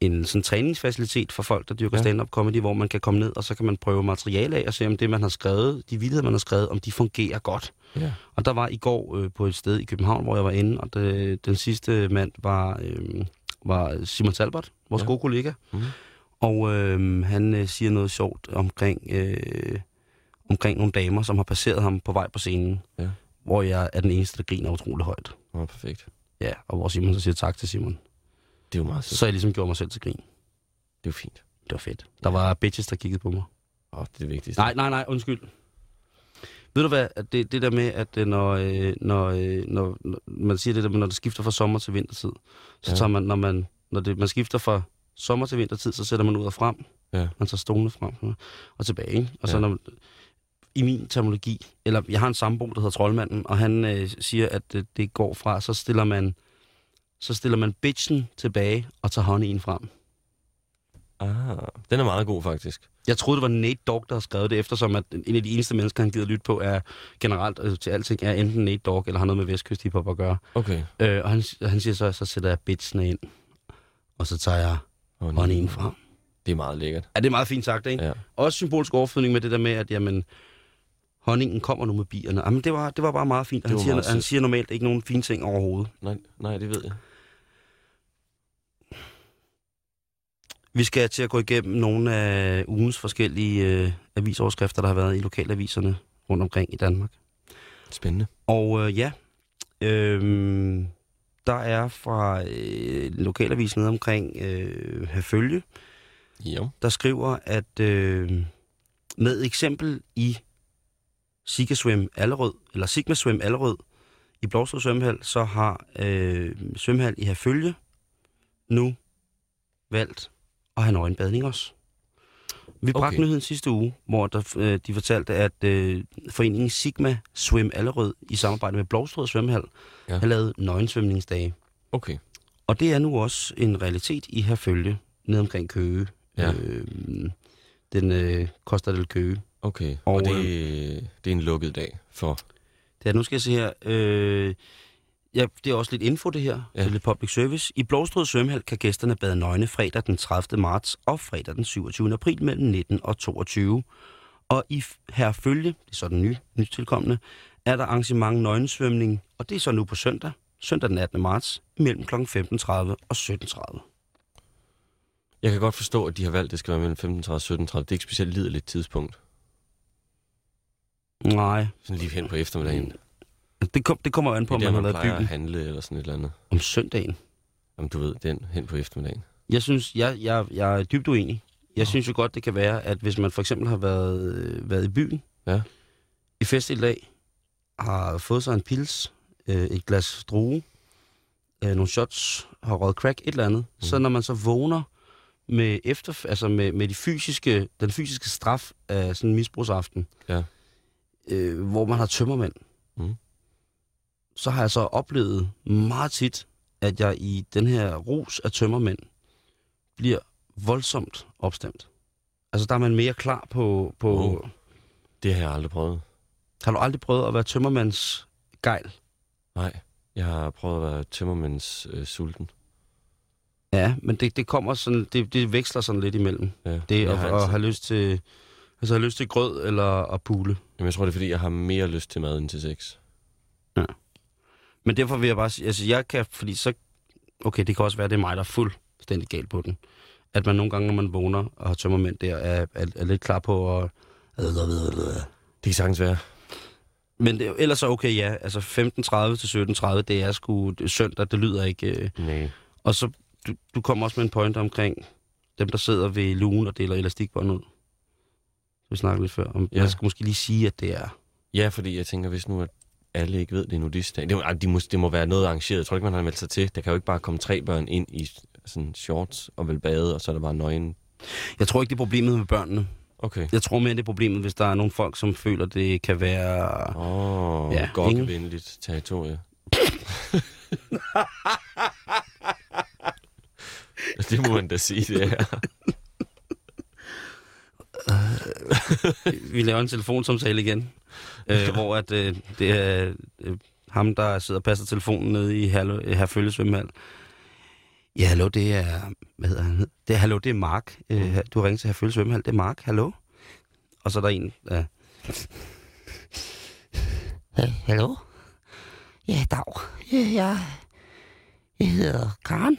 Speaker 2: en sådan træningsfacilitet for folk, der dyrker ja.
Speaker 3: Ja.
Speaker 2: stand-up comedy, hvor man kan komme ned, og så kan man prøve materiale af og se, om det, man har skrevet, de vildheder, man har skrevet, om de fungerer godt.
Speaker 3: Ja.
Speaker 2: Og der var i går øh, på et sted i København, hvor jeg var inde, og det, den sidste mand var, øh, var Simon Talbot, vores ja.
Speaker 3: Ja.
Speaker 2: gode kollega.
Speaker 3: Mhm.
Speaker 2: Og øh, han øh, siger noget sjovt omkring, øh, omkring nogle damer, som har passeret ham på vej på scenen.
Speaker 3: Ja.
Speaker 2: Hvor jeg er den eneste, der griner utrolig højt.
Speaker 3: Oh, perfekt.
Speaker 2: Ja, og hvor Simon så siger tak til Simon.
Speaker 3: Det er jo meget sødt.
Speaker 2: Så jeg ligesom gjorde mig selv til grin.
Speaker 3: Det er jo fint.
Speaker 2: Det var fedt. Der var bitches, der kiggede på mig.
Speaker 3: Åh, oh, det er det vigtigste.
Speaker 2: Nej, nej, nej, undskyld. Ved du hvad, at det, det der med, at øh, når, øh, når, øh, når, når, man siger det der med, når det skifter fra sommer til vintertid, så ja.
Speaker 3: Ja.
Speaker 2: tager man, når man, når det, man skifter fra sommer til vintertid, så sætter man ud og frem.
Speaker 3: Ja.
Speaker 2: Man tager stolene frem og tilbage, ikke? Og så
Speaker 3: Ja.
Speaker 2: når man, i min terminologi, eller jeg har en sambo, der hedder Troldmanden, og han øh, siger, at øh, det går fra, så stiller man så stiller man bitchen tilbage og tager honningen frem.
Speaker 3: Ah, den er meget god, faktisk.
Speaker 2: Jeg troede, det var Nate Dogg, der havde skrevet det, eftersom at en af de eneste mennesker, han gider lytte på, er generelt øh, til alting, er enten Nate Dogg, eller har noget med vestkyst hiphop at gøre.
Speaker 3: Okay.
Speaker 2: Øh, og han, han siger så, så sætter jeg bitchene ind, og så tager jeg
Speaker 3: Oh,
Speaker 2: honningen frem.
Speaker 3: Det er meget lækkert.
Speaker 2: Ja, det er meget fint sagt, ikke? Ja.
Speaker 3: Ja.
Speaker 2: Også symbolsk overfødning med det der med, at jamen, honningen kommer nu med bierne. Jamen, det var, det var bare meget fint. og
Speaker 3: Det
Speaker 2: Han
Speaker 3: var
Speaker 2: siger,
Speaker 3: meget
Speaker 2: han
Speaker 3: sødt.
Speaker 2: siger normalt ikke nogen fine ting overhovedet.
Speaker 3: Nej, nej, det ved jeg.
Speaker 2: Vi skal til at gå igennem nogle af ugens forskellige øh, avisoverskrifter, der har været i lokalaviserne rundt omkring i Danmark.
Speaker 3: Spændende.
Speaker 2: Og øh, ja, øh, der er fra øh, lokalavisen nede omkring øh, Herfølge,
Speaker 3: Jo.
Speaker 2: der skriver, at øh, med eksempel i Sigma Swim Allerød, eller Sigma Swim Allerød i Blåstrup Svømmehal, så har øh, svømmehal i Herfølge nu valgt at have nøgenbadning også. Vi bragte
Speaker 3: Okay.
Speaker 2: nyheden sidste uge, hvor der, øh, de fortalte, at øh, foreningen Sigma Swim Allerød i samarbejde med Blåstrup Svømmehal ja.
Speaker 3: Ja.
Speaker 2: har lavet nøgensvømningsdage.
Speaker 3: Okay.
Speaker 2: Og det er nu også en realitet i Herfølge, nede omkring Køge.
Speaker 3: Ja.
Speaker 2: Øh, den øh, koster del Køge.
Speaker 3: Okay.
Speaker 2: Og,
Speaker 3: Og, og det, det er en lukket dag for...
Speaker 2: Det er, nu skal jeg se her, øh, ja, det er også lidt info det her, ja.
Speaker 3: Ja.
Speaker 2: det er lidt public service. I Blåstrød Svømmehal kan gæsterne bade nøgne fredag den 30. marts og fredag den 27. april mellem 19 og 22. Og i f- Herfølge, det er så den nye, nytilkommende, er der arrangement nøgnesvømning, og det er så nu på søndag, søndag den 18. marts, mellem kl. 15.30 og 17.30.
Speaker 3: Jeg kan godt forstå, at de har valgt, at det skal være mellem 15.30 og 17.30. Det er ikke specielt lideligt tidspunkt.
Speaker 2: Nej,
Speaker 3: Sådan lige hen på eftermiddagen. Det
Speaker 2: Det, kom, det kommer jo an på,
Speaker 3: er
Speaker 2: om
Speaker 3: der,
Speaker 2: man har
Speaker 3: man
Speaker 2: været i
Speaker 3: plejer at
Speaker 2: byen
Speaker 3: handle eller sådan et eller andet.
Speaker 2: om søndagen.
Speaker 3: Jamen, du ved, den hen på eftermiddagen.
Speaker 2: Jeg synes, jeg, jeg, jeg er dybt uenig. Jeg synes jo godt, det kan være, at hvis man for eksempel har været, øh, været i byen
Speaker 3: Ja.
Speaker 2: i fest i dag, har fået sig en pils, øh, et glas druge, øh, nogle shots, har røget crack, et eller andet, mm. så når man så vågner med, efter, altså med, med de fysiske, den fysiske straf af sådan en misbrugsaften,
Speaker 3: Ja.
Speaker 2: øh, hvor man har tømmermænd,
Speaker 3: Mm.
Speaker 2: så har jeg så oplevet meget tit, at jeg i den her rus af tømmermænd bliver voldsomt opstemt. Altså, der er man mere klar på... på
Speaker 3: Wow. Det har jeg aldrig prøvet.
Speaker 2: Har du aldrig prøvet at være tømmermands gejl?
Speaker 3: Nej, jeg har prøvet at være tømmermænds øh, sulten.
Speaker 2: Ja, men det, det kommer sådan... Det, det veksler sådan lidt imellem.
Speaker 3: Ja,
Speaker 2: Det
Speaker 3: jeg,
Speaker 2: at,
Speaker 3: har
Speaker 2: at
Speaker 3: altid,
Speaker 2: have lyst til... Altså, have lyst til grød eller at pule.
Speaker 3: jamen, jeg tror, det er, fordi jeg har mere lyst til mad end til sex.
Speaker 2: Men derfor vil jeg bare sige... Altså, jeg kan... Fordi så... Okay, det kan også være, det er mig, der er fuldstændig galt på den. At man nogle gange, når man vågner og har tømmermænd der, er, er, er lidt klar på at...
Speaker 3: Det kan sagtens være.
Speaker 2: Men det, ellers så okay, ja. Altså 15.30 til 17.30, det er sgu det er søndag, det lyder ikke... Øh.
Speaker 3: Nej.
Speaker 2: Og så, du, du kommer også med en point omkring dem, der sidder ved lugen og deler elastikbånd ud. Vi snakkede lidt før om, ja.
Speaker 3: Ja.
Speaker 2: jeg skal måske lige sige, at det er...
Speaker 3: Ja, fordi jeg tænker, hvis nu at alle ikke ved, det er nudistdag. Det, må- ej, de må, det må være noget arrangeret. Jeg tror ikke, man har meldt sig til. Der kan jo ikke bare komme tre børn ind i sådan shorts og vil bade, og så er der bare nøgen.
Speaker 2: Jeg tror ikke, det er problemet med børnene.
Speaker 3: Okay.
Speaker 2: Jeg tror mere, det er problemet, hvis der er nogle folk, som føler, det kan være...
Speaker 3: Åh, oh,
Speaker 2: Ja,
Speaker 3: ja,
Speaker 2: ingen-
Speaker 3: godt venligt <laughs> territorie. det må man da sige, det er.
Speaker 2: <laughs> Vi laver en telefonsamtale igen, øh, hvor at, øh, det er øh, ham, der sidder og passer telefonen nede i Herlo- øh, Herfølge svømmehal. Ja, hallo, det er... Hvad hedder han? Det er, hallo, det er Mark. Øh, du har ringet til Herfølge svømmehal. Det er Mark. Hallo? Og så er der en... Øh, hallo? Ja, dag. Jeg, jeg hedder Karen.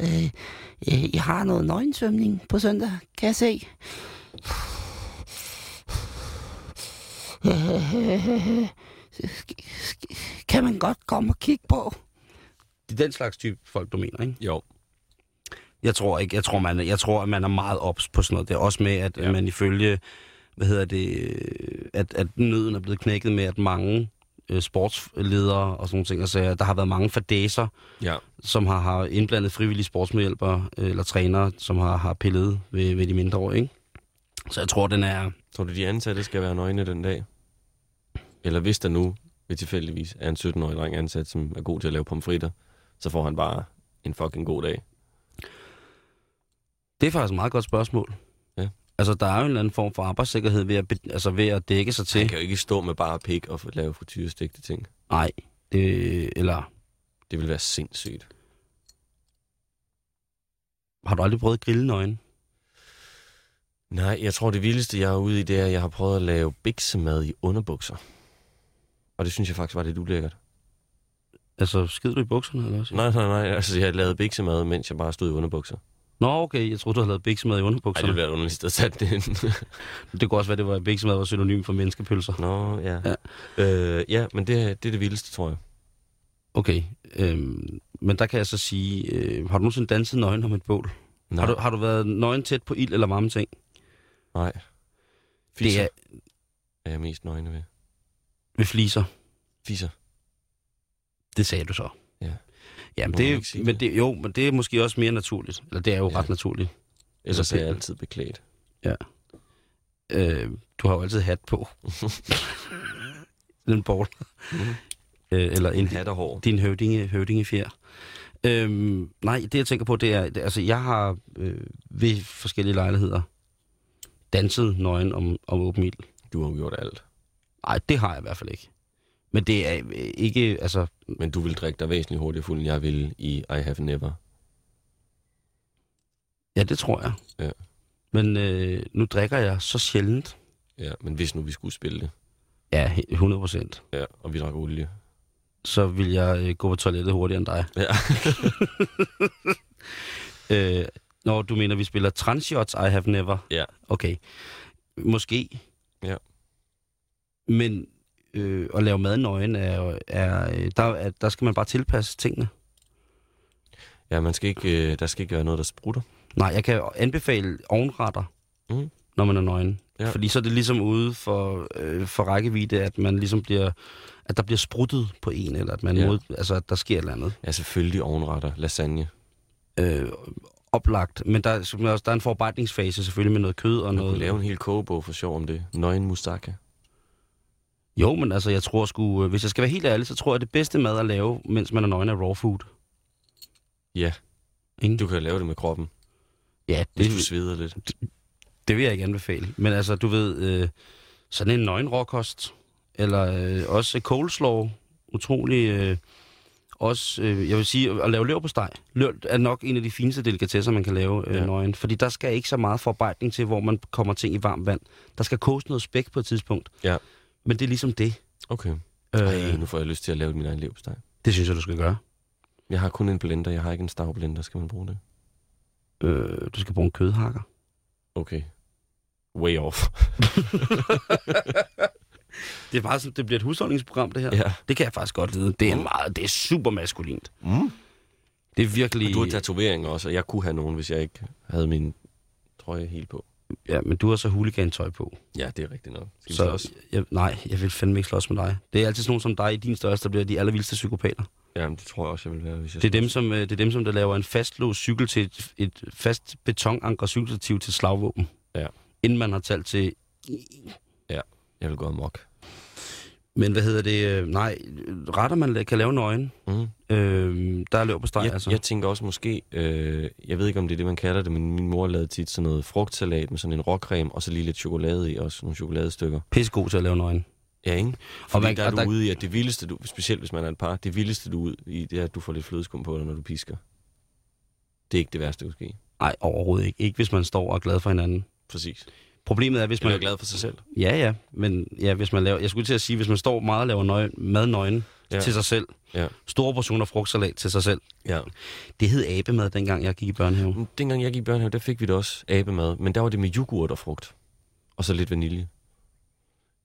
Speaker 2: Øh, I har noget nøgensvømning på søndag, kan jeg se. kan man godt komme og kigge på. Det er den slags type folk, du mener, ikke?
Speaker 3: Jo.
Speaker 2: Jeg tror ikke. Jeg tror, man, jeg tror at man er meget ops på sådan noget. Det er også med, at ja.
Speaker 3: Ja.
Speaker 2: man ifølge, hvad hedder det, øh, at, at nøden er blevet knækket med, at mange øh, sportsledere og sådan nogle ting, altså, der har været mange fadæser,
Speaker 3: Ja.
Speaker 2: som har, har indblandet frivillige sportsmedhjælpere øh, eller trænere, som har, har pillet ved, ved de mindre år, ikke? Så jeg tror, den er...
Speaker 3: Tror du, de ansatte skal være nøgne den dag? Eller hvis der nu ved tilfældigvis er en 17-årig dreng ansat, som er god til at lave pomfritter, så får han bare en fucking god dag.
Speaker 2: Det er faktisk et meget godt spørgsmål.
Speaker 3: Ja.
Speaker 2: Altså, der er jo en eller anden form for arbejdssikkerhed ved at, be- altså, ved at dække sig
Speaker 3: Han
Speaker 2: til.
Speaker 3: kan jo ikke stå med bare pik og lave frityrestegte ting.
Speaker 2: Nej, øh, eller
Speaker 3: Det vil være sindssygt.
Speaker 2: har du aldrig prøvet at grille nøgen?
Speaker 3: Nej, jeg tror det vildeste, jeg er ude i, det er, at jeg har prøvet at lave biksemad i underbukser. Og det synes jeg faktisk var lidt ulækkert.
Speaker 2: Altså, skider du i bukserne eller også?
Speaker 3: Nej, nej, nej. Altså, jeg lavede biksemad, mens jeg bare stod i underbukser.
Speaker 2: Nå, okay, jeg troede, du havde lavet biksemad i
Speaker 3: Ej,
Speaker 2: underbukserne.
Speaker 3: det ville
Speaker 2: Ej,
Speaker 3: være et underligt sted at sætte det ind.
Speaker 2: det, det kunne også være, det var, at biksemad var synonym for menneskepølser.
Speaker 3: <laughs> Nå, ja.
Speaker 2: Ja.
Speaker 3: Ja, øh, ja men det, det er det vildeste, tror jeg.
Speaker 2: Okay, øhm, men der kan jeg så sige, øh, har du nogensinde danset nøgen om et bål?
Speaker 3: Nej,
Speaker 2: Har du, har du været nøgen tæt på ild eller varme ting?
Speaker 3: nej.
Speaker 2: Det
Speaker 3: Fisser
Speaker 2: er
Speaker 3: er... er jeg mest nøgne ved.
Speaker 2: ved fliser.
Speaker 3: Fisser.
Speaker 2: Det sagde du så.
Speaker 3: Ja.
Speaker 2: Jamen,
Speaker 3: Må
Speaker 2: det,
Speaker 3: man ikke sige
Speaker 2: men
Speaker 3: det?
Speaker 2: det, jo, men det er måske også mere naturligt. Eller det er jo ja.
Speaker 3: Ja.
Speaker 2: ret naturligt.
Speaker 3: Ellers
Speaker 2: Eller
Speaker 3: er jeg
Speaker 2: pik.
Speaker 3: altid beklædt.
Speaker 2: Øh, du har jo altid hat
Speaker 3: <laughs>
Speaker 2: på. Den ball.
Speaker 3: Mm.
Speaker 2: Øh, eller en,
Speaker 3: En hat og hår.
Speaker 2: din høvdinge, høvdingefjer. Øhm, nej, det jeg tænker på, det er, det, altså jeg har øh, ved forskellige lejligheder danset nøgen om, om åben ild.
Speaker 3: Du har gjort alt.
Speaker 2: Nej, det har jeg i hvert fald ikke. Men det er øh, ikke, altså,
Speaker 3: Men du vil drikke dig væsentligt hurtigere fuld, end jeg vil i I Have Never.
Speaker 2: ja, det tror jeg.
Speaker 3: Ja.
Speaker 2: Men øh, nu drikker jeg så sjældent.
Speaker 3: Ja, men hvis nu vi skulle spille det,
Speaker 2: Ja, he- 100 procent.
Speaker 3: ja, og vi drak olie.
Speaker 2: Så vil jeg øh, gå på toilettet hurtigere end dig.
Speaker 3: Ja.
Speaker 2: <laughs> Øh, når du mener, vi spiller Transhots, I have never.
Speaker 3: Ja.
Speaker 2: Okay. Måske.
Speaker 3: Ja.
Speaker 2: Men øh, at lave mad nøgen er, jo- er, øh, der, er, der skal man bare tilpasse tingene.
Speaker 3: Ja, man skal ikke, øh, der skal ikke være noget, der sprutter.
Speaker 2: Nej, jeg kan anbefale ovnretter,
Speaker 3: Mhm.
Speaker 2: når man er nøgen.
Speaker 3: Ja.
Speaker 2: Fordi så er det ligesom ude for, øh, for rækkevidde, at man ligesom bliver, at der bliver spruttet på en, eller at man
Speaker 3: Ja.
Speaker 2: mod, altså, at der sker et eller andet.
Speaker 3: Ja, selvfølgelig ovenretter, lasagne.
Speaker 2: Øh, oplagt. Men der, som jeg også- der er en forarbejdningsfase selvfølgelig med noget kød og
Speaker 3: Man
Speaker 2: noget...
Speaker 3: kunne lave en hel kogebog for sjov om det. Nøgen moussaka.
Speaker 2: Jo, men altså, jeg tror sgu, øh, hvis jeg skal være helt ærlig, så tror jeg, at det bedste mad at lave, mens man er nøgen, er raw food.
Speaker 3: Ja.
Speaker 2: Ingen.
Speaker 3: Du kan lave det med kroppen,
Speaker 2: Ja,
Speaker 3: hvis
Speaker 2: det,
Speaker 3: du sveder lidt.
Speaker 2: det vil jeg ikke anbefale. Men altså, du ved, øh, sådan en nøgen råkost, eller øh, også coleslaw, utrolig... Øh, også, øh, jeg vil sige, at lave leverpostej. Løv er nok en af de fineste delikatesser, man kan lave øh, ja.
Speaker 3: Ja.
Speaker 2: nøgen. Fordi der skal ikke så meget forarbejdning til, hvor man kommer ting i varmt vand. Der skal koges noget spæk på et tidspunkt.
Speaker 3: Ja.
Speaker 2: Men det er ligesom det.
Speaker 3: Okay.
Speaker 2: Øh,
Speaker 3: Ej, nu får jeg lyst til at lave min egen levsteg.
Speaker 2: det synes jeg, du skal gøre.
Speaker 3: Jeg har kun en blender, jeg har ikke en stavblender. Skal man bruge det?
Speaker 2: Øh, du skal bruge en kødhakker.
Speaker 3: Okay. Way off.
Speaker 2: Det, er meget, sådan- det bliver et husholdningsprogram, det her.
Speaker 3: <laughs> Ja.
Speaker 2: Det kan jeg faktisk godt lide. Det er, meget, det er super maskulint. Mm. Det er virkelig...
Speaker 3: Du har tatoveringer også, og jeg kunne have nogen, hvis jeg ikke havde min trøje helt på.
Speaker 2: ja, men du har så huligan-tøj på.
Speaker 3: Ja, det er rigtigt nok. Skal vi
Speaker 2: Så
Speaker 3: slås?
Speaker 2: jeg, nej, jeg vil fandme ikke slås med dig. Det er altid sådan nogen som dig i din størrelse, der bliver de allervildeste psykopater.
Speaker 3: Jamen, det tror jeg også, jeg vil være, hvis jeg...
Speaker 2: Det er dem, som, øh, det er dem, som der laver en fastlåst cykel til et, et fast betonanker cykelstativ til slagvåben.
Speaker 3: Ja.
Speaker 2: Inden man har talt til...
Speaker 3: Ja, jeg vil gå amok.
Speaker 2: Men hvad hedder det? øh, Nej, retter man la- kan lave nøgen.
Speaker 3: Mm.
Speaker 2: Øh, der er løb på steg,
Speaker 3: Jeg,
Speaker 2: altså.
Speaker 3: jeg tænker også måske, øh, jeg ved ikke, om det er det, man kalder det, men min mor lavede tit sådan noget frugtsalat med sådan en råcreme, og så lige lidt chokolade i, også nogle chokoladestykker.
Speaker 2: Pissegod til at lave nøgen.
Speaker 3: Ja, ikke? Fordi og
Speaker 2: man-
Speaker 3: man, der er
Speaker 2: og
Speaker 3: du
Speaker 2: der-
Speaker 3: ude i, at det vildeste, du, specielt hvis man er et par, det vildeste du er ude i, det er, at du får lidt flødeskum på dig, når du pisker. Det er ikke det værste, der kan ske.
Speaker 2: Nej, overhovedet ikke. Ikke hvis man står og er glad for hinanden.
Speaker 3: Præcis.
Speaker 2: Problemet er, hvis
Speaker 3: Man er
Speaker 2: man...
Speaker 3: glad for sig selv.
Speaker 2: Ja, ja. Men ja, hvis man laver... Jeg skulle til at sige, hvis man står meget og laver nøgen, mad nøgen ja.
Speaker 3: Ja.
Speaker 2: til sig selv.
Speaker 3: Ja.
Speaker 2: Store portioner frugtsalat til sig selv.
Speaker 3: Ja.
Speaker 2: Det hed abemad, dengang jeg gik i børnehave.
Speaker 3: Men Dengang jeg gik i børnehave, der fik vi det også abemad, men der var det med yoghurt og frugt. Og så lidt vanilje.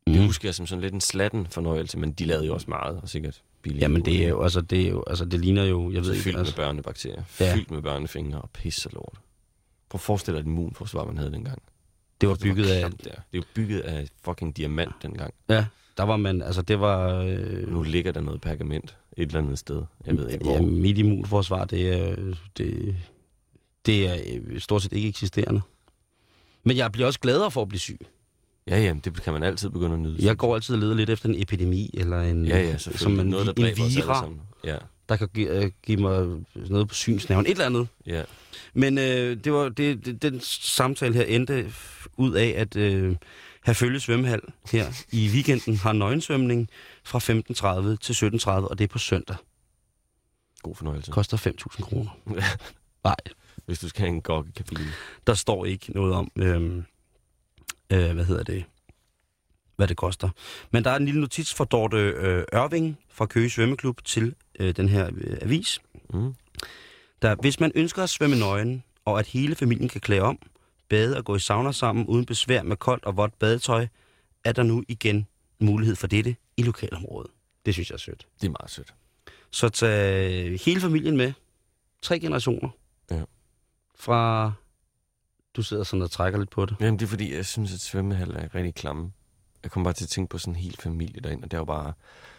Speaker 3: Mm. Det husker jeg som sådan lidt en slatten fornøjelse, men de lavede jo også meget, og sikkert billigt.
Speaker 2: Jamen det er jo, altså det er jo, altså det ligner jo, jeg ved
Speaker 3: Så
Speaker 2: ikke,
Speaker 3: fyldt med
Speaker 2: altså,
Speaker 3: børnebakterier,
Speaker 2: Ja.
Speaker 3: ja. fyldt med børnefingre og pis og lort. Prøv at forestille dig et immunforsvar, man havde dengang.
Speaker 2: det var bygget af,
Speaker 3: klamt, Det er Det er jo bygget af fucking diamant dengang.
Speaker 2: ja, der var man, altså det var, øh,
Speaker 3: Nu ligger der noget pergament et eller andet sted. Jeg ved ikke, hvor.
Speaker 2: ja, mit immunforsvar, det er, det, det er øh, stort set ikke eksisterende. Men jeg bliver også gladere for at blive syg.
Speaker 3: Ja, ja, det kan man altid begynde at nyde.
Speaker 2: Jeg går altid og leder lidt efter en epidemi, eller en,
Speaker 3: ja, ja,
Speaker 2: som
Speaker 3: selvfølgelig.
Speaker 2: en,
Speaker 3: noget, der
Speaker 2: en
Speaker 3: dræber os alle
Speaker 2: vira,
Speaker 3: sammen. Ja,
Speaker 2: der kan give, øh, give mig noget på synsnævn, et eller andet.
Speaker 3: ja.
Speaker 2: Men øh, det var, det, det, den samtale her endte f- ud af, at øh, have følge svømmehal her i weekenden har nøgensvømning fra 15.30 til 17.30, og det er på søndag.
Speaker 3: God fornøjelse.
Speaker 2: Koster 5.000 kroner. Nej,
Speaker 3: Hvis du skal have en gokkekabine.
Speaker 2: der står ikke noget om, øh, øh, hvad hedder det, hvad det koster. Men der er en lille notits fra Dorte øh, Ørving fra Køge Svømmeklub til øh, den her øh, avis.
Speaker 3: Mm.
Speaker 2: Der, hvis man ønsker at svømme nøgen, og at hele familien kan klæde om, bade og gå i sauna sammen uden besvær med koldt og vådt badetøj, er der nu igen mulighed for dette i lokalområdet. Det synes jeg er sødt.
Speaker 3: Det er meget sødt.
Speaker 2: Så tag hele familien med. Tre generationer.
Speaker 3: Ja.
Speaker 2: Fra... Du sidder sådan og trækker lidt på det.
Speaker 3: Jamen, det er fordi, jeg synes, at svømmehaller er rigtig klamme. Jeg kommer bare til at tænke på sådan en hel familie derinde, og der er jo bare...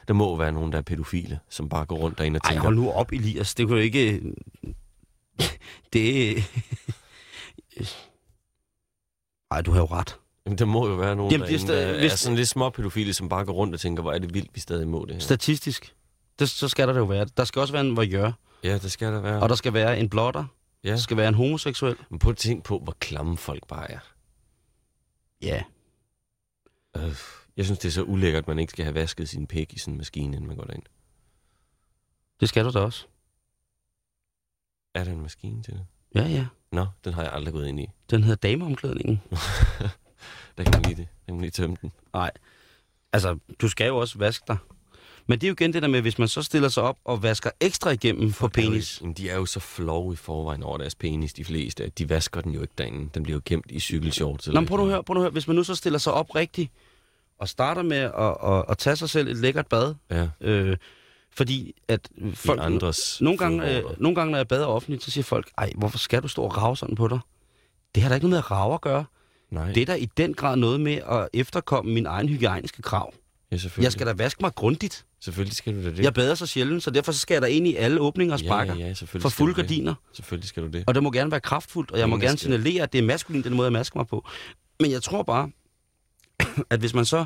Speaker 3: Der må være nogen, der er pædofile, som bare går rundt derinde og
Speaker 2: Ej,
Speaker 3: tænker...
Speaker 2: hold nu op, Elias. Det kunne jo ikke... <laughs> det... Ej, du har jo ret.
Speaker 3: Jamen, der må jo være nogen
Speaker 2: Jamen,
Speaker 3: Jamen,
Speaker 2: det er
Speaker 3: derinde,
Speaker 2: stadig-
Speaker 3: der
Speaker 2: hvis-
Speaker 3: er sådan lidt småpædofile, som bare går rundt og tænker, hvor er det vildt, vi stadig må det her.
Speaker 2: Statistisk. Det, så skal der det jo være. Der skal også være en voyeur,
Speaker 3: Ja, det skal der være.
Speaker 2: og der skal være en blotter,
Speaker 3: Ja.
Speaker 2: der skal være en homoseksuel.
Speaker 3: Men prøv at tænke på, hvor klamme folk bare er.
Speaker 2: Ja.
Speaker 3: Øh, jeg synes, det er så ulækkert, at man ikke skal have vasket sin pæk i sådan en maskine, inden man går derind.
Speaker 2: Det skal du da også.
Speaker 3: Er der en maskine til det?
Speaker 2: Ja, ja.
Speaker 3: Nå, den har jeg aldrig gået ind i. <laughs>
Speaker 2: Den hedder dameomklædningen.
Speaker 3: Der kan man lige, det. Der kan man lige tømme den.
Speaker 2: Nej. Altså, du skal jo også vaske dig. Men det er jo igen det der med, hvis man så stiller sig op og vasker ekstra igennem på penis.
Speaker 3: Jamen, de er jo så flove i forvejen over deres penis, de fleste. at De vasker den jo ikke derinde. Den bliver jo gemt i cykelshorts.
Speaker 2: Nå,
Speaker 3: eller
Speaker 2: men prøv nu at
Speaker 3: et eller
Speaker 2: høre, prøv nu at høre. Hvis man nu så stiller sig op rigtigt, og starter med at, at, at tage sig selv et lækkert bad,
Speaker 3: andet.
Speaker 2: øh, fordi at
Speaker 3: Ja,
Speaker 2: folk...
Speaker 3: folk, andres
Speaker 2: nogle, gange,
Speaker 3: fodbold.
Speaker 2: øh, nogle gange, når jeg bader offentligt, så siger folk, ej, hvorfor skal du stå og rave sådan på dig? Det har da ikke noget med at rave at gøre.
Speaker 3: Nej,
Speaker 2: Det er da i den grad noget med at efterkomme min egen hygiejniske krav.
Speaker 3: ja, selvfølgelig.
Speaker 2: Jeg skal da vaske mig grundigt.
Speaker 3: Selvfølgelig skal du da det.
Speaker 2: Jeg bader så sjældent, så derfor så skal jeg da ind i alle åbninger og sparker.
Speaker 3: ja, ja, selvfølgelig
Speaker 2: for
Speaker 3: skal
Speaker 2: fulde
Speaker 3: du det.
Speaker 2: gardiner.
Speaker 3: Selvfølgelig skal du det.
Speaker 2: Og det må gerne være kraftfuldt, og jeg må
Speaker 3: Ingen
Speaker 2: gerne
Speaker 3: skal-
Speaker 2: signalere, at det er maskulin, den måde, jeg masker mig på. Men jeg tror bare, <clears throat> at hvis man så...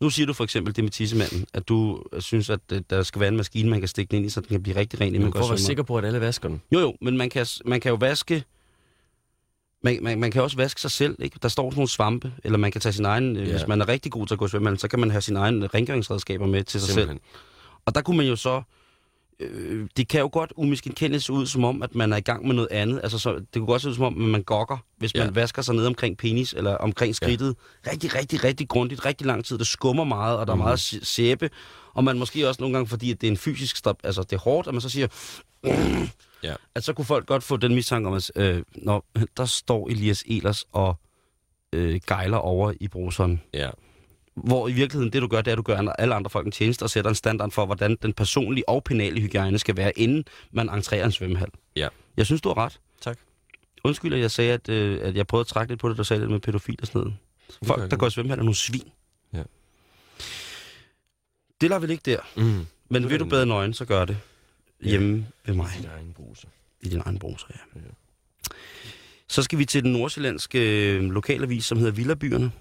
Speaker 2: Nu siger du for eksempel det med tissemanden, at du synes, at øh, der skal være en maskine, man kan stikke den ind i, så den kan blive rigtig ren, inden man
Speaker 3: Men for
Speaker 2: går
Speaker 3: at være
Speaker 2: sikker...
Speaker 3: sikker på, at alle vasker den.
Speaker 2: Jo, jo, men man kan, man kan jo vaske... Man, man, man kan også vaske sig selv, ikke? Der står sådan nogle svampe, eller man kan tage sin egen... Ja.
Speaker 3: Ja.
Speaker 2: Hvis man er rigtig god til at gå i svømmehallen, så kan man have sine egne rengøringsredskaber med til sig selv.
Speaker 3: Simpelthen.
Speaker 2: Og der kunne man jo så... Øh, det kan jo godt umiskenkendeligt se ud, som om, at man er i gang med noget andet. Altså, så, det kunne godt se ud, som om, at man gokker, hvis man
Speaker 3: Ja.
Speaker 2: vasker sig ned omkring penis eller omkring skridtet. Ja. Rigtig, rigtig, rigtig grundigt, rigtig lang tid. Det skummer meget, og
Speaker 3: Mhm.
Speaker 2: der mm. er meget sæ- sæbe. Og man måske også nogle gange, fordi at det er en fysisk stop, altså det er hårdt, at man så siger,
Speaker 3: Ja.
Speaker 2: at så kunne folk godt få den mistanke om, at øh, når der står Elias Elers og øh, gejler over i bruseren.
Speaker 3: Ja.
Speaker 2: Hvor i virkeligheden det, du gør, det er, at du gør alle andre folk en tjeneste og sætter en standard for, hvordan den personlige og penale hygiejne skal være, inden man entrerer en svømmehal.
Speaker 3: Ja.
Speaker 2: Jeg synes, du har ret.
Speaker 3: Tak.
Speaker 2: Undskyld, at jeg sagde, at, øh, at jeg prøvede at trække lidt på det, du sagde lidt med pædofil og sådan noget.
Speaker 3: gør
Speaker 2: Folk, der
Speaker 3: ikke
Speaker 2: går i svømmehal, er nogle svin.
Speaker 3: Ja.
Speaker 2: Det lader vi ligge der.
Speaker 3: Mm.
Speaker 2: Men vil du bedre nøgen, så gør det hjemme ved mig
Speaker 3: Din egen bruse.
Speaker 2: i din egen bruser, ja. Så skal vi til den nordsjællandske øh, lokalavis, som hedder Villabyerne.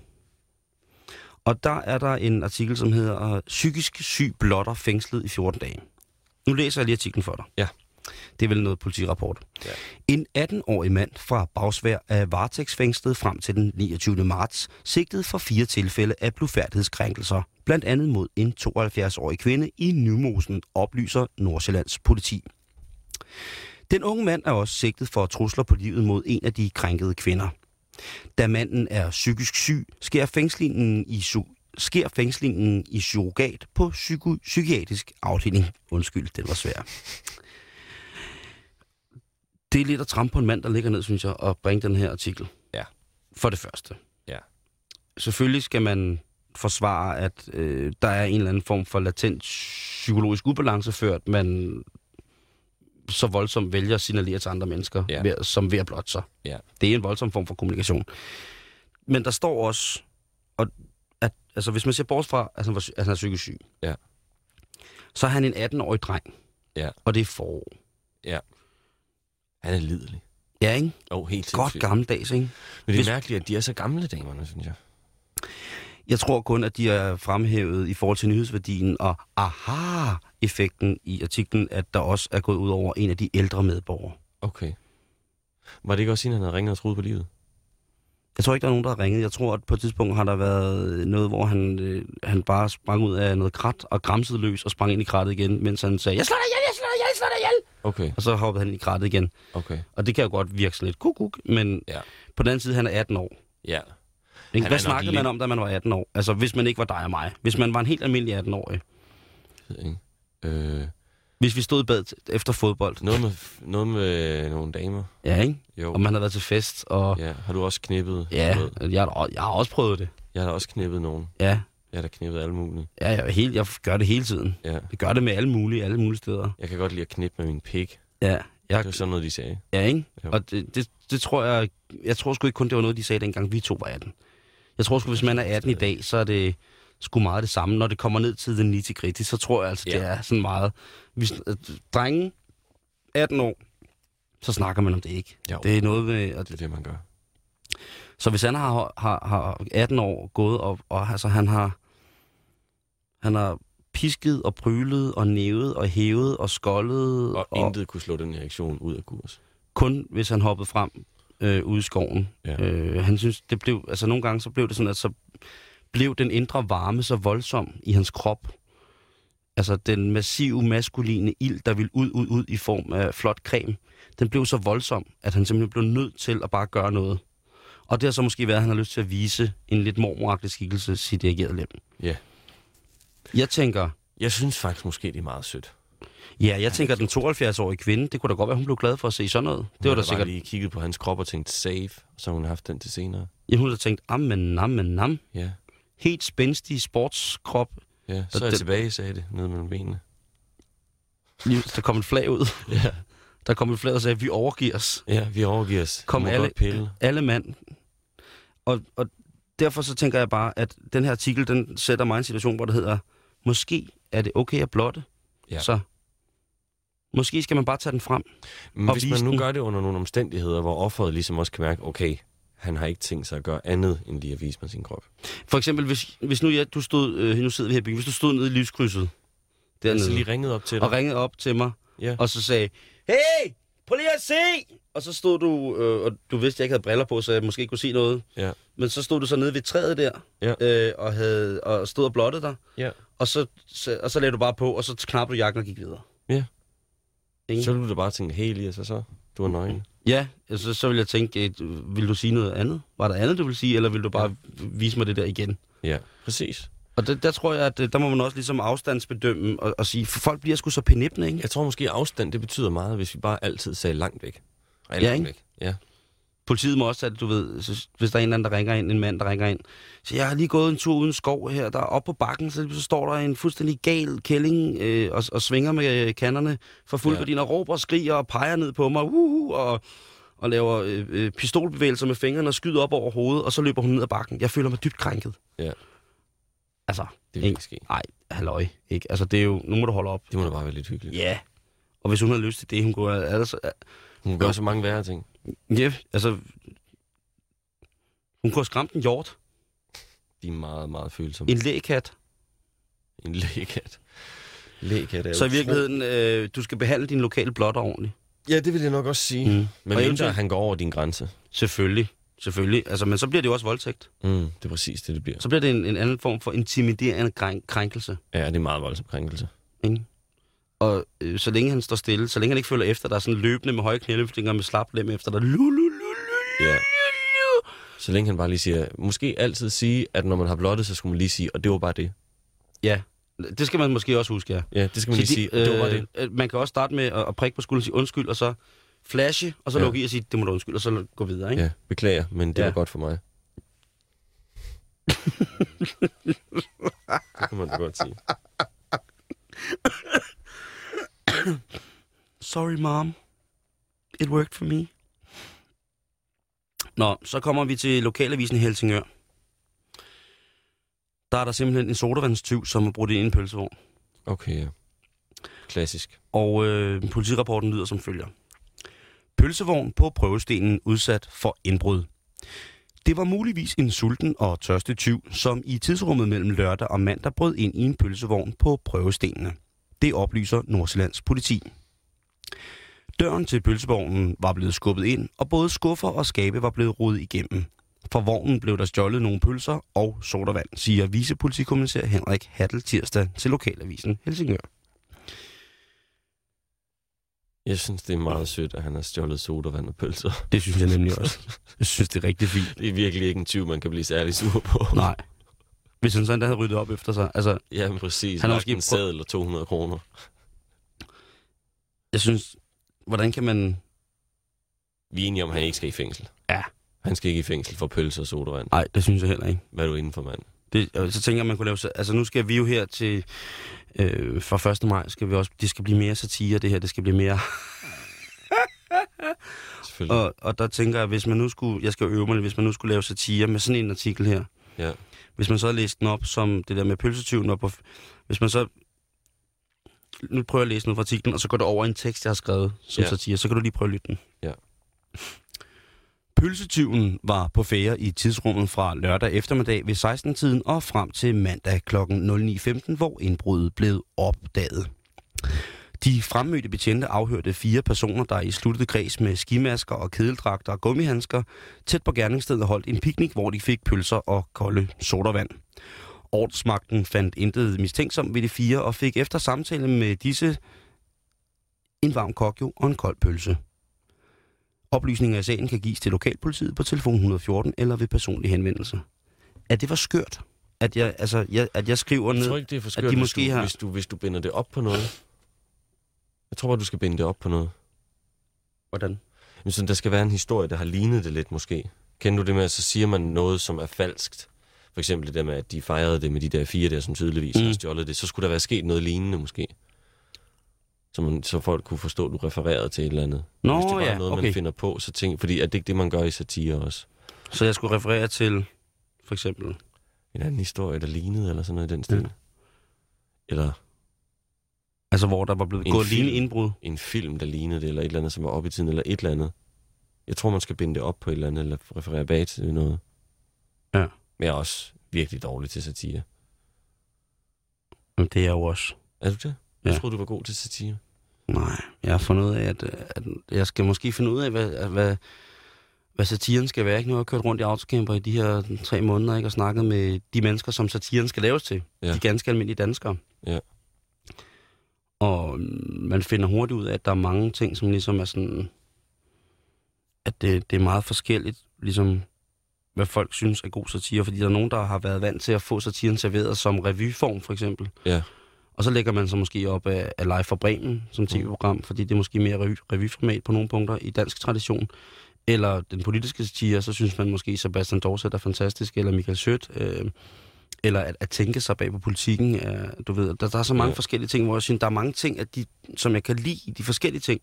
Speaker 2: Og der er der en artikel, som hedder "Øh, Psykisk syg blotter fængslet i 14 dage. Nu læser jeg lige artiklen for dig.
Speaker 3: Ja.
Speaker 2: Det er vel noget politirapport.
Speaker 3: Ja.
Speaker 2: En 18-årig mand fra Bagsvær er varetægtsfængslet frem til den 29. marts, sigtet for fire tilfælde af blufærdighedskrænkelser, blandt andet mod en 72-årig kvinde i Nymosen, oplyser Nordsjællands politi. Den unge mand er også sigtet for trusler på livet mod en af de krænkede kvinder. Da manden er psykisk syg, sker fængslingen i, su- sker fængslingen i surrogat på psyko- psykiatrisk afdeling. Undskyld, den var svær. Det er lidt at trampe på en mand, der ligger ned, synes jeg, og bringe den her artikel.
Speaker 3: Ja.
Speaker 2: For det første.
Speaker 3: Ja.
Speaker 2: Selvfølgelig skal man forsvare, at øh, der er en eller anden form for latent psykologisk ubalance, før man så voldsomt vælger at signalere til andre mennesker,
Speaker 3: Ja.
Speaker 2: ja. ved, som ved at blotte sig.
Speaker 3: Ja.
Speaker 2: Det er en voldsom form for kommunikation. Men der står også, og at, altså hvis man ser bort fra, at han, var, sy- at han er psykisk syg,
Speaker 3: Ja.
Speaker 2: så er han en 18-årig dreng,
Speaker 3: Ja.
Speaker 2: og det er forår.
Speaker 3: Han er lidelig.
Speaker 2: Ja, ikke?
Speaker 3: Åh, oh, helt sindssygt.
Speaker 2: Godt gammeldags, ikke?
Speaker 3: Men det
Speaker 2: Hvis-
Speaker 3: er mærkeligt, at de er så gamle, damerne, synes jeg.
Speaker 2: Jeg tror kun, at de er fremhævet i forhold til nyhedsværdien og aha-effekten i artiklen, at der også er gået ud over en af de ældre medborgere.
Speaker 3: Okay. Var det ikke også, siden han havde ringet og troet på livet?
Speaker 2: Jeg tror ikke, der er nogen, der har ringet. Jeg tror, at på et tidspunkt har der været noget, hvor han, øh, han bare sprang ud af noget krat og græmsede løs og sprang ind i krattet igen, mens han sagde, jeg slår dig ihjel, jeg slår dig ihjel, jeg slår dig ihjel.
Speaker 3: Okay,
Speaker 2: Og så hoppede han ind i krattet igen.
Speaker 3: okay.
Speaker 2: Og det kan jo godt virke sådan lidt kukuk, men
Speaker 3: Ja.
Speaker 2: ja. på den anden side, han er 18 år.
Speaker 3: Ja. Han
Speaker 2: Ikke?
Speaker 3: er
Speaker 2: Hvad
Speaker 3: nok
Speaker 2: snakkede
Speaker 3: lidt-
Speaker 2: man om, da man var 18 år? Altså, hvis man ikke var dig og mig. Hvis man var en helt almindelig 18-årig.
Speaker 3: Jeg ved ikke. Øh,
Speaker 2: Hvis vi stod i badet efter fodbold.
Speaker 3: noget, med, noget med nogle damer.
Speaker 2: Ja, ikke?
Speaker 3: Jo.
Speaker 2: Og man havde været til fest, og...
Speaker 3: Ja, har du også knippet?
Speaker 2: Ja,
Speaker 3: noget?
Speaker 2: jeg, har da også- jeg har også prøvet det.
Speaker 3: Jeg har da også knippet nogen.
Speaker 2: Ja,
Speaker 3: Jeg har da knippet alle mulige.
Speaker 2: ja jeg, er helt, jeg gør det hele tiden.
Speaker 3: Ja.
Speaker 2: Jeg gør det med alle mulige, alle mulige steder.
Speaker 3: Jeg kan godt lide at knippe med min pik.
Speaker 2: Ja, jeg,
Speaker 3: Det var sådan noget, de sagde.
Speaker 2: Ja, ikke? Jo.
Speaker 3: Jo.
Speaker 2: Og det, det, det tror jeg... Jeg tror sgu ikke kun, det var noget, de sagde, dengang vi to var 18. Jeg tror sgu, hvis man er 18 i dag, så er det sgu meget det samme. Når det kommer ned til den 90 gritty, så tror jeg altså, ja.
Speaker 3: Ja.
Speaker 2: det er sådan meget... Hvis drenge, 18 år, så snakker man om det ikke.
Speaker 3: Jo.
Speaker 2: Det er noget med... Og
Speaker 3: Det er det, man gør.
Speaker 2: så hvis han har, har, har 18 år gået op, og altså, han har, han har pisket og prylet og nævet og hævet og skoldet.
Speaker 3: Og intet kunne slå den reaktion ud af kurs.
Speaker 2: kun hvis han hoppede frem øh, ude i skoven.
Speaker 3: Ja.
Speaker 2: Ja. Øh, han synes, det blev, altså nogle gange så blev det sådan, at så blev den indre varme så voldsom i hans krop. Altså den massive maskuline ild, der ville ud, ud, ud i form af flot creme, den blev så voldsom, at han simpelthen blev nødt til at bare gøre noget. Og det har så måske været, at han har lyst til at vise en lidt mormoragtig skikkelse sit reagerede lem.
Speaker 3: Ja.
Speaker 2: Jeg tænker,
Speaker 3: Jeg synes faktisk måske, det er meget sødt.
Speaker 2: ja, jeg tænker, at den 72-årige kvinde, det kunne da godt være, hun blev glad for at se sådan noget. Det var da
Speaker 3: Jeg har bare
Speaker 2: sikkert
Speaker 3: lige kigget på hans krop og tænkt, save. Og så har hun haft den til senere.
Speaker 2: Ja, hun havde tænkt, ammen, nammen, nam.
Speaker 3: Ja,
Speaker 2: Helt spændstig sportskrop.
Speaker 3: ja. Så
Speaker 2: Og
Speaker 3: er jeg
Speaker 2: den-
Speaker 3: tilbage, sagde det, nede mellem benene.
Speaker 2: Lige- Der kom et flag ud.
Speaker 3: Ja.
Speaker 2: Der kom et flag og sagde, vi overgiver os.
Speaker 3: Ja, vi overgiver os.
Speaker 2: Kom
Speaker 3: Du må
Speaker 2: alle-
Speaker 3: godt pille.
Speaker 2: Alle mand. Og, og derfor så tænker jeg bare, at den her artikel, den sætter mig i en situation, hvor det hedder, måske er det okay at blotte.
Speaker 3: Ja.
Speaker 2: Så måske skal man bare tage den frem.
Speaker 3: Men
Speaker 2: og
Speaker 3: hvis
Speaker 2: vise
Speaker 3: man nu
Speaker 2: den.
Speaker 3: gør det under nogle omstændigheder, hvor offeret ligesom også kan mærke, okay, han har ikke tænkt sig at gøre andet, end lige at vise mig sin krop.
Speaker 2: For eksempel, hvis, hvis nu, ja, du stod, øh, nu sidder vi her i byen, hvis du stod nede i lyskrydset
Speaker 3: Han så
Speaker 2: dernede,
Speaker 3: Altså lige ringet op til dig.
Speaker 2: og ringede op til mig,
Speaker 3: Ja.
Speaker 2: og så sagde, hey, prøv lige at se! Og så stod du, øh, og du vidste, at jeg ikke havde briller på, så jeg måske ikke kunne se noget.
Speaker 3: Ja.
Speaker 2: Men så stod du så nede ved træet der,
Speaker 3: Ja.
Speaker 2: øh, og, havde, og stod og blottede dig,
Speaker 3: ja.
Speaker 2: og så, så, og så lagde du bare på, og så knappede du jakken og gik videre.
Speaker 3: Ja.
Speaker 2: Ikke?
Speaker 3: Så ville du da bare tænke, hey Elias, og så? Du er nøgen.
Speaker 2: Ja, altså, så ville jeg tænke, et, vil du sige noget andet? Var der andet, du ville sige, eller vil du bare vise mig det der igen?
Speaker 3: Ja, præcis.
Speaker 2: Og det, der tror jeg, at øh, der må man også ligesom afstandsbedømme og, og sige, for folk bliver sgu så penibne, ikke?
Speaker 3: Jeg tror måske, afstand det betyder meget, hvis vi bare altid sagde langt væk. Ej,
Speaker 2: Ja,
Speaker 3: langt
Speaker 2: ikke?
Speaker 3: væk. Ja.
Speaker 2: Politiet må også, at du ved, så, hvis der er en eller anden, der ringer ind, en mand, der ringer ind, så jeg har lige gået en tur uden skov her, der er oppe på bakken, så, så står der en fuldstændig gal kælling øh, og, og svinger med øh, kannerne for fuld
Speaker 3: Ja.
Speaker 2: ja. din og råber og skriger og peger ned på mig, uhu, og, og laver øh, øh, pistolbevægelser med fingrene og skyder op over hovedet, og så løber hun ned ad bakken. Jeg føler mig dybt krænket.
Speaker 3: Ja.
Speaker 2: Altså,
Speaker 3: Det vil ikke ske.
Speaker 2: nej, halløj, ikke? Altså, det er jo, nu må du holde op.
Speaker 3: Det må da bare være lidt hyggeligt.
Speaker 2: Ja. Og hvis hun har lyst til det, hun kunne... Altså,
Speaker 3: Hun gør så mange værre ting.
Speaker 2: ja, altså... Hun kunne have skræmt en hjort,
Speaker 3: De er meget, meget følsomme.
Speaker 2: en lægekat.
Speaker 3: En lægekat. Lægekat er
Speaker 2: Så i
Speaker 3: utro-
Speaker 2: virkeligheden, øh, du skal behandle din lokale blotter ordentligt.
Speaker 3: Ja, det vil jeg nok også sige.
Speaker 2: Mm.
Speaker 3: Mm.
Speaker 2: Og
Speaker 3: Men mindre
Speaker 2: eventuelt-
Speaker 3: han går over din grænse.
Speaker 2: Selvfølgelig. Selvfølgelig. Altså, men så bliver det jo også voldtægt.
Speaker 3: Mm, det er præcis det, det bliver.
Speaker 2: Så bliver det en, en anden form for intimiderende krænk- krænkelse.
Speaker 3: Ja, det er en meget voldsom krænkelse.
Speaker 2: Ikke? Og øh, så længe han står stille, så længe han ikke følger efter dig, sådan løbende med høje knæløftninger med slap lem efter dig. Lu, lu, lu, lu,
Speaker 3: Ja. Så længe han bare lige siger, måske altid sige, at når man har blottet, så skulle man lige sige, og det var bare det.
Speaker 2: Ja, det skal man måske også huske, ja.
Speaker 3: Ja, det skal man lige
Speaker 2: Så de-
Speaker 3: sige, og det var bare det.
Speaker 2: øh, Man kan også starte med at, at prikke på skulderen og sige undskyld, og så flashe, og så
Speaker 3: Ja.
Speaker 2: ja. lukke i og sige, det må du undskylde, og så gå videre, ikke?
Speaker 3: Ja, beklager, men det ja.
Speaker 2: Ja.
Speaker 3: var godt
Speaker 2: <laughs>
Speaker 3: for mig. det kan man da godt sige.
Speaker 2: Sorry, mom. It worked for me. Nå, så kommer vi til lokalavisen i Helsingør. Der er der simpelthen en sodavandstyv, som har brudt ind i en pølsevogn.
Speaker 3: Okay, ja. Klassisk.
Speaker 2: Og øh, politirapporten lyder som følger. Pølsevogn på prøvestenen udsat for indbrud. Det var muligvis en sulten og tørstig tyv, som i tidsrummet mellem lørdag og mandag brød ind i en pølsevogn på prøvestenene. Det oplyser Nordsjællands politi. Døren til pølsevognen var blevet skubbet ind, og både skuffer og skabe var blevet rodet igennem. Fra vognen blev der stjålet nogle pølser og sodavand, siger vicepolitikommissær Henrik Hattel tirsdag til lokalavisen Helsingør.
Speaker 3: Jeg synes, det er meget sødt, at han har stjålet sodavand og pølser. <laughs>
Speaker 2: Det synes jeg nemlig også. Jeg synes, det er rigtig fint.
Speaker 3: Det er virkelig ikke en tyv, man kan blive særlig sur på. <laughs>
Speaker 2: Nej. Hvis han sådan der havde ryddet op efter sig. Altså,
Speaker 3: Ja, men
Speaker 2: Han
Speaker 3: præcis. Han
Speaker 2: har
Speaker 3: har
Speaker 2: måske
Speaker 3: en
Speaker 2: prø-
Speaker 3: sædel og 200 kroner.
Speaker 2: jeg synes, hvordan kan man...
Speaker 3: Vi er enige om, at han ikke skal i fængsel.
Speaker 2: Ja.
Speaker 3: Han skal ikke i fængsel for pølser og sodavand.
Speaker 2: Nej, det synes jeg heller ikke.
Speaker 3: Hvad er du inden for, mand?
Speaker 2: Det, og så tænker jeg, man kunne lave... så- Altså, nu skal vi jo her til... Øh, fra 1. maj skal vi også... Det skal blive mere satire, det her. Det skal blive mere...
Speaker 3: Selvfølgelig.
Speaker 2: Og, og der tænker jeg, hvis man nu skulle... Jeg skal jo øve mig lidt, hvis man nu skulle lave satire med sådan en artikel her.
Speaker 3: Ja.
Speaker 2: Hvis man så havde læst den op, som det der med pølsetyven var på... Hvis man så... Nu prøver jeg at læse noget fra artiklen, og så går det over i en tekst, jeg har skrevet som
Speaker 3: Ja.
Speaker 2: ja. satire. Så kan du lige prøve at lytte den.
Speaker 3: Ja.
Speaker 2: Pølsetyven var på fære i tidsrummet fra lørdag eftermiddag ved 16-tiden og frem til mandag kl. 09.15, hvor indbruddet blev opdaget. De fremmødte betjente afhørte fire personer, der i sluttet kreds med skimasker og kedeldragter og gummihandsker tæt på gerningsstedet holdt en piknik, hvor de fik pølser og kolde sodavand. Ordensmagten fandt intet mistænksomt ved de fire og fik efter samtale med disse en varm kokjo og en kold pølse. Oplysninger i sagen kan gives til lokalpolitiet på telefon 114 eller ved personlig henvendelse. At det var skørt, at jeg, altså, jeg, at jeg skriver
Speaker 3: Jeg
Speaker 2: ned...
Speaker 3: tror ikke, det er for skørt,
Speaker 2: de
Speaker 3: hvis
Speaker 2: måske
Speaker 3: du,
Speaker 2: har-
Speaker 3: hvis, du, hvis du binder det op på noget. Jeg tror bare, du skal binde det op på noget.
Speaker 2: Hvordan?
Speaker 3: Jamen, sådan, der skal være en historie, der har lignet det lidt måske. Kender du det med, at så siger man noget, som er falskt? For eksempel det der med, at de fejrede det med de der fire der, som tydeligvis mm.
Speaker 2: Mm.
Speaker 3: har stjålet det. Så skulle der være sket noget lignende måske. Så, man, så folk kunne forstå, at du refererede til et eller andet.
Speaker 2: Nå,
Speaker 3: Hvis det bare
Speaker 2: ja,
Speaker 3: er noget, man
Speaker 2: okay.
Speaker 3: finder på, så tænk... Fordi er det ikke det, man gør i satire også?
Speaker 2: Så jeg skulle referere til, for eksempel...
Speaker 3: En anden historie, der lignede, eller sådan noget i den stil.
Speaker 2: Ja.
Speaker 3: Eller
Speaker 2: Altså, hvor der var blevet
Speaker 3: En
Speaker 2: gået
Speaker 3: film.
Speaker 2: lignende indbrud.
Speaker 3: en film, der lignede det, eller et eller andet, som var oppe i tiden, eller et eller andet. Jeg tror, man skal binde det op på et eller andet, eller referere bag til noget.
Speaker 2: Ja.
Speaker 3: Men jeg er også virkelig dårlig til satire.
Speaker 2: Jamen, det er jeg jo også.
Speaker 3: Er du det? Jeg
Speaker 2: Ja.
Speaker 3: troede, du var god til satire.
Speaker 2: Nej, jeg har fundet ud af, at, at jeg skal måske finde ud af, hvad, at- hvad, hvad satiren skal være. Ikke? Nu har jeg kørt rundt i autocamper i de her tre måneder ikke? og snakket med de mennesker, som satiren skal laves til.
Speaker 3: Ja.
Speaker 2: Ja. De ganske almindelige danskere.
Speaker 3: Ja.
Speaker 2: Og mm, man finder hurtigt ud af, at der er mange ting, som ligesom er sådan... At det, det er meget forskelligt, ligesom hvad folk synes er god satire. Fordi der er nogen, der har været vant til at få satiren serveret som revyform, for eksempel. Og så lægger man så måske op af, af
Speaker 3: Mm.
Speaker 2: Live fra Bremen som tv-program, fordi det er måske mere revy, revyformat på nogle punkter i dansk tradition, eller den politiske satire, så synes man måske, Sebastian Dorset er fantastisk, eller Michael Sødt, øh, eller at, at tænke sig bag på politikken. Er, du ved, der, der er så mange ja.
Speaker 3: Ja.
Speaker 2: forskellige ting, hvor jeg synes, der er mange ting, at de, som jeg kan lide i de forskellige ting,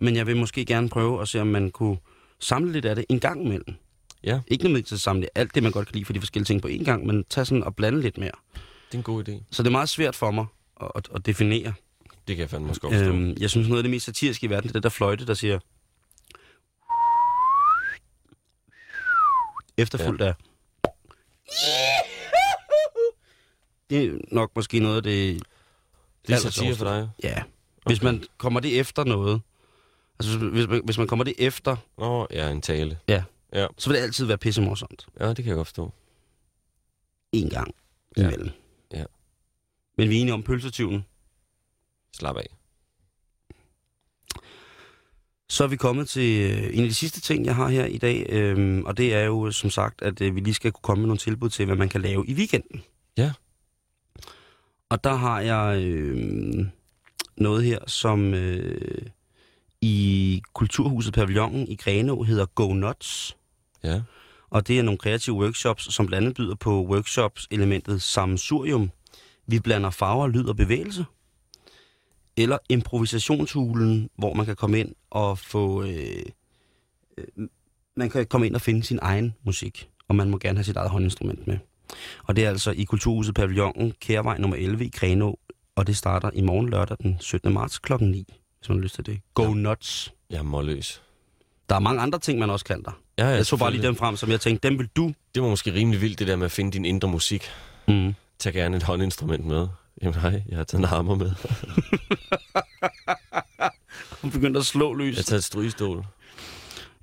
Speaker 2: men jeg vil måske gerne prøve at se, om man kunne samle lidt af det en gang imellem.
Speaker 3: Ja.
Speaker 2: Ikke nødvendigvis at samle alt det, man godt kan lide for de forskellige ting på én gang, men tage sådan og blande lidt mere.
Speaker 3: Det er en god idé.
Speaker 2: Så det er meget svært for mig at, at, at definere.
Speaker 3: Det kan jeg fandme også godt forstå. Øhm,
Speaker 2: Øhm, jeg synes, noget af det mest satiriske i verden, det er det der fløjte, der siger... Efterfuldt af... Det er nok måske noget af det...
Speaker 3: det er
Speaker 2: altså
Speaker 3: satire for dig.
Speaker 2: Ja. Hvis man kommer det efter noget... Altså, hvis- hvis man, hvis man kommer det efter,
Speaker 3: Nå, ja, en tale.
Speaker 2: så vil det altid være pissemorsomt.
Speaker 3: Ja, det kan jeg godt forstå.
Speaker 2: En gang
Speaker 3: Ja.
Speaker 2: imellem.
Speaker 3: Ja.
Speaker 2: Men vi er enige om pølsetyven.
Speaker 3: Slap af.
Speaker 2: Så er vi kommet til øh, en af de sidste ting, jeg har her i dag, øhm, og det er jo som sagt, at øh, vi lige skal kunne komme med nogle tilbud til, hvad man kan lave i weekenden.
Speaker 3: Ja.
Speaker 2: Og der har jeg øh, noget her, som øh, i Kulturhuset Pavillonen i Grenå hedder Go Nuts,
Speaker 3: Ja.
Speaker 2: og det er nogle kreative workshops, som blandt andet byder på workshops-elementet Samsurium. Vi blander farver, lyd og bevægelse eller improvisationshulen, hvor man kan komme ind og få... Øh, øh, man kan komme ind og finde sin egen musik, og man må gerne have sit eget håndinstrument med. Og det er altså i Kulturhuset Pavillonen, Kærvej nummer 11 i Grenå, og det starter i morgen lørdag den 17. marts kl. 9, hvis man har lyst til det. Go ja. nuts!
Speaker 3: Jeg er målløs.
Speaker 2: Der er mange andre ting, man også kan der.
Speaker 3: Ja, ja,
Speaker 2: Jeg tog bare lige
Speaker 3: selvfølgelig.
Speaker 2: dem frem, som jeg tænkte, dem vil du.
Speaker 3: Det var måske rimelig vildt, det der med at finde din indre musik.
Speaker 2: Mm.
Speaker 3: Tag gerne et håndinstrument med. Jamen nej, jeg har taget en hammer med.
Speaker 2: Hun begyndte at slå
Speaker 3: Jeg har
Speaker 2: løs.
Speaker 3: taget et strygestol.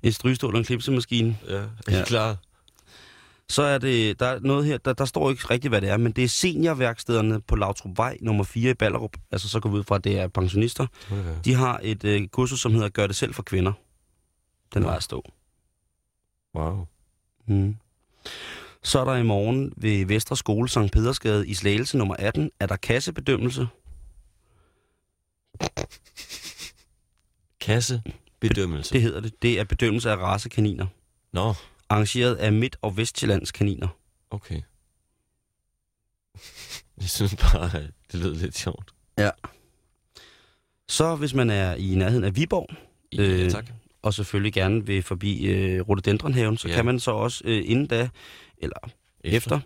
Speaker 2: En strygestol og en klipsemaskine.
Speaker 3: Ja, er
Speaker 2: Ja.
Speaker 3: ja. klar?
Speaker 2: Så er det, der er noget her, der, der står ikke rigtigt, hvad det er, men det er seniorværkstederne på Lautrupvej nummer 4 i Ballerup. Altså, så går vi ud fra, at det er pensionister.
Speaker 3: Okay.
Speaker 2: De har et øh, kursus, som hedder Gør det selv for kvinder. Den var at stå.
Speaker 3: Wow.
Speaker 2: Mm. Så er der i morgen ved Vestre Skole, Sankt Pedersgade i Slagelse nummer 18, er der kassebedømmelse.
Speaker 3: Kassebedømmelse.
Speaker 2: Det hedder det. Det er bedømmelse af racekaniner.
Speaker 3: Nå,
Speaker 2: Arrangeret af Midt- og Vestjyllands kaniner.
Speaker 3: okay. <laughs> Jeg synes bare, at det lød lidt sjovt.
Speaker 2: Så hvis man er i nærheden af Viborg,
Speaker 3: Ja,
Speaker 2: Øh,
Speaker 3: tak.
Speaker 2: og selvfølgelig gerne vil forbi øh, Rhododendronhaven, så ja.
Speaker 3: Ja.
Speaker 2: kan man så også øh, inden da, eller efter,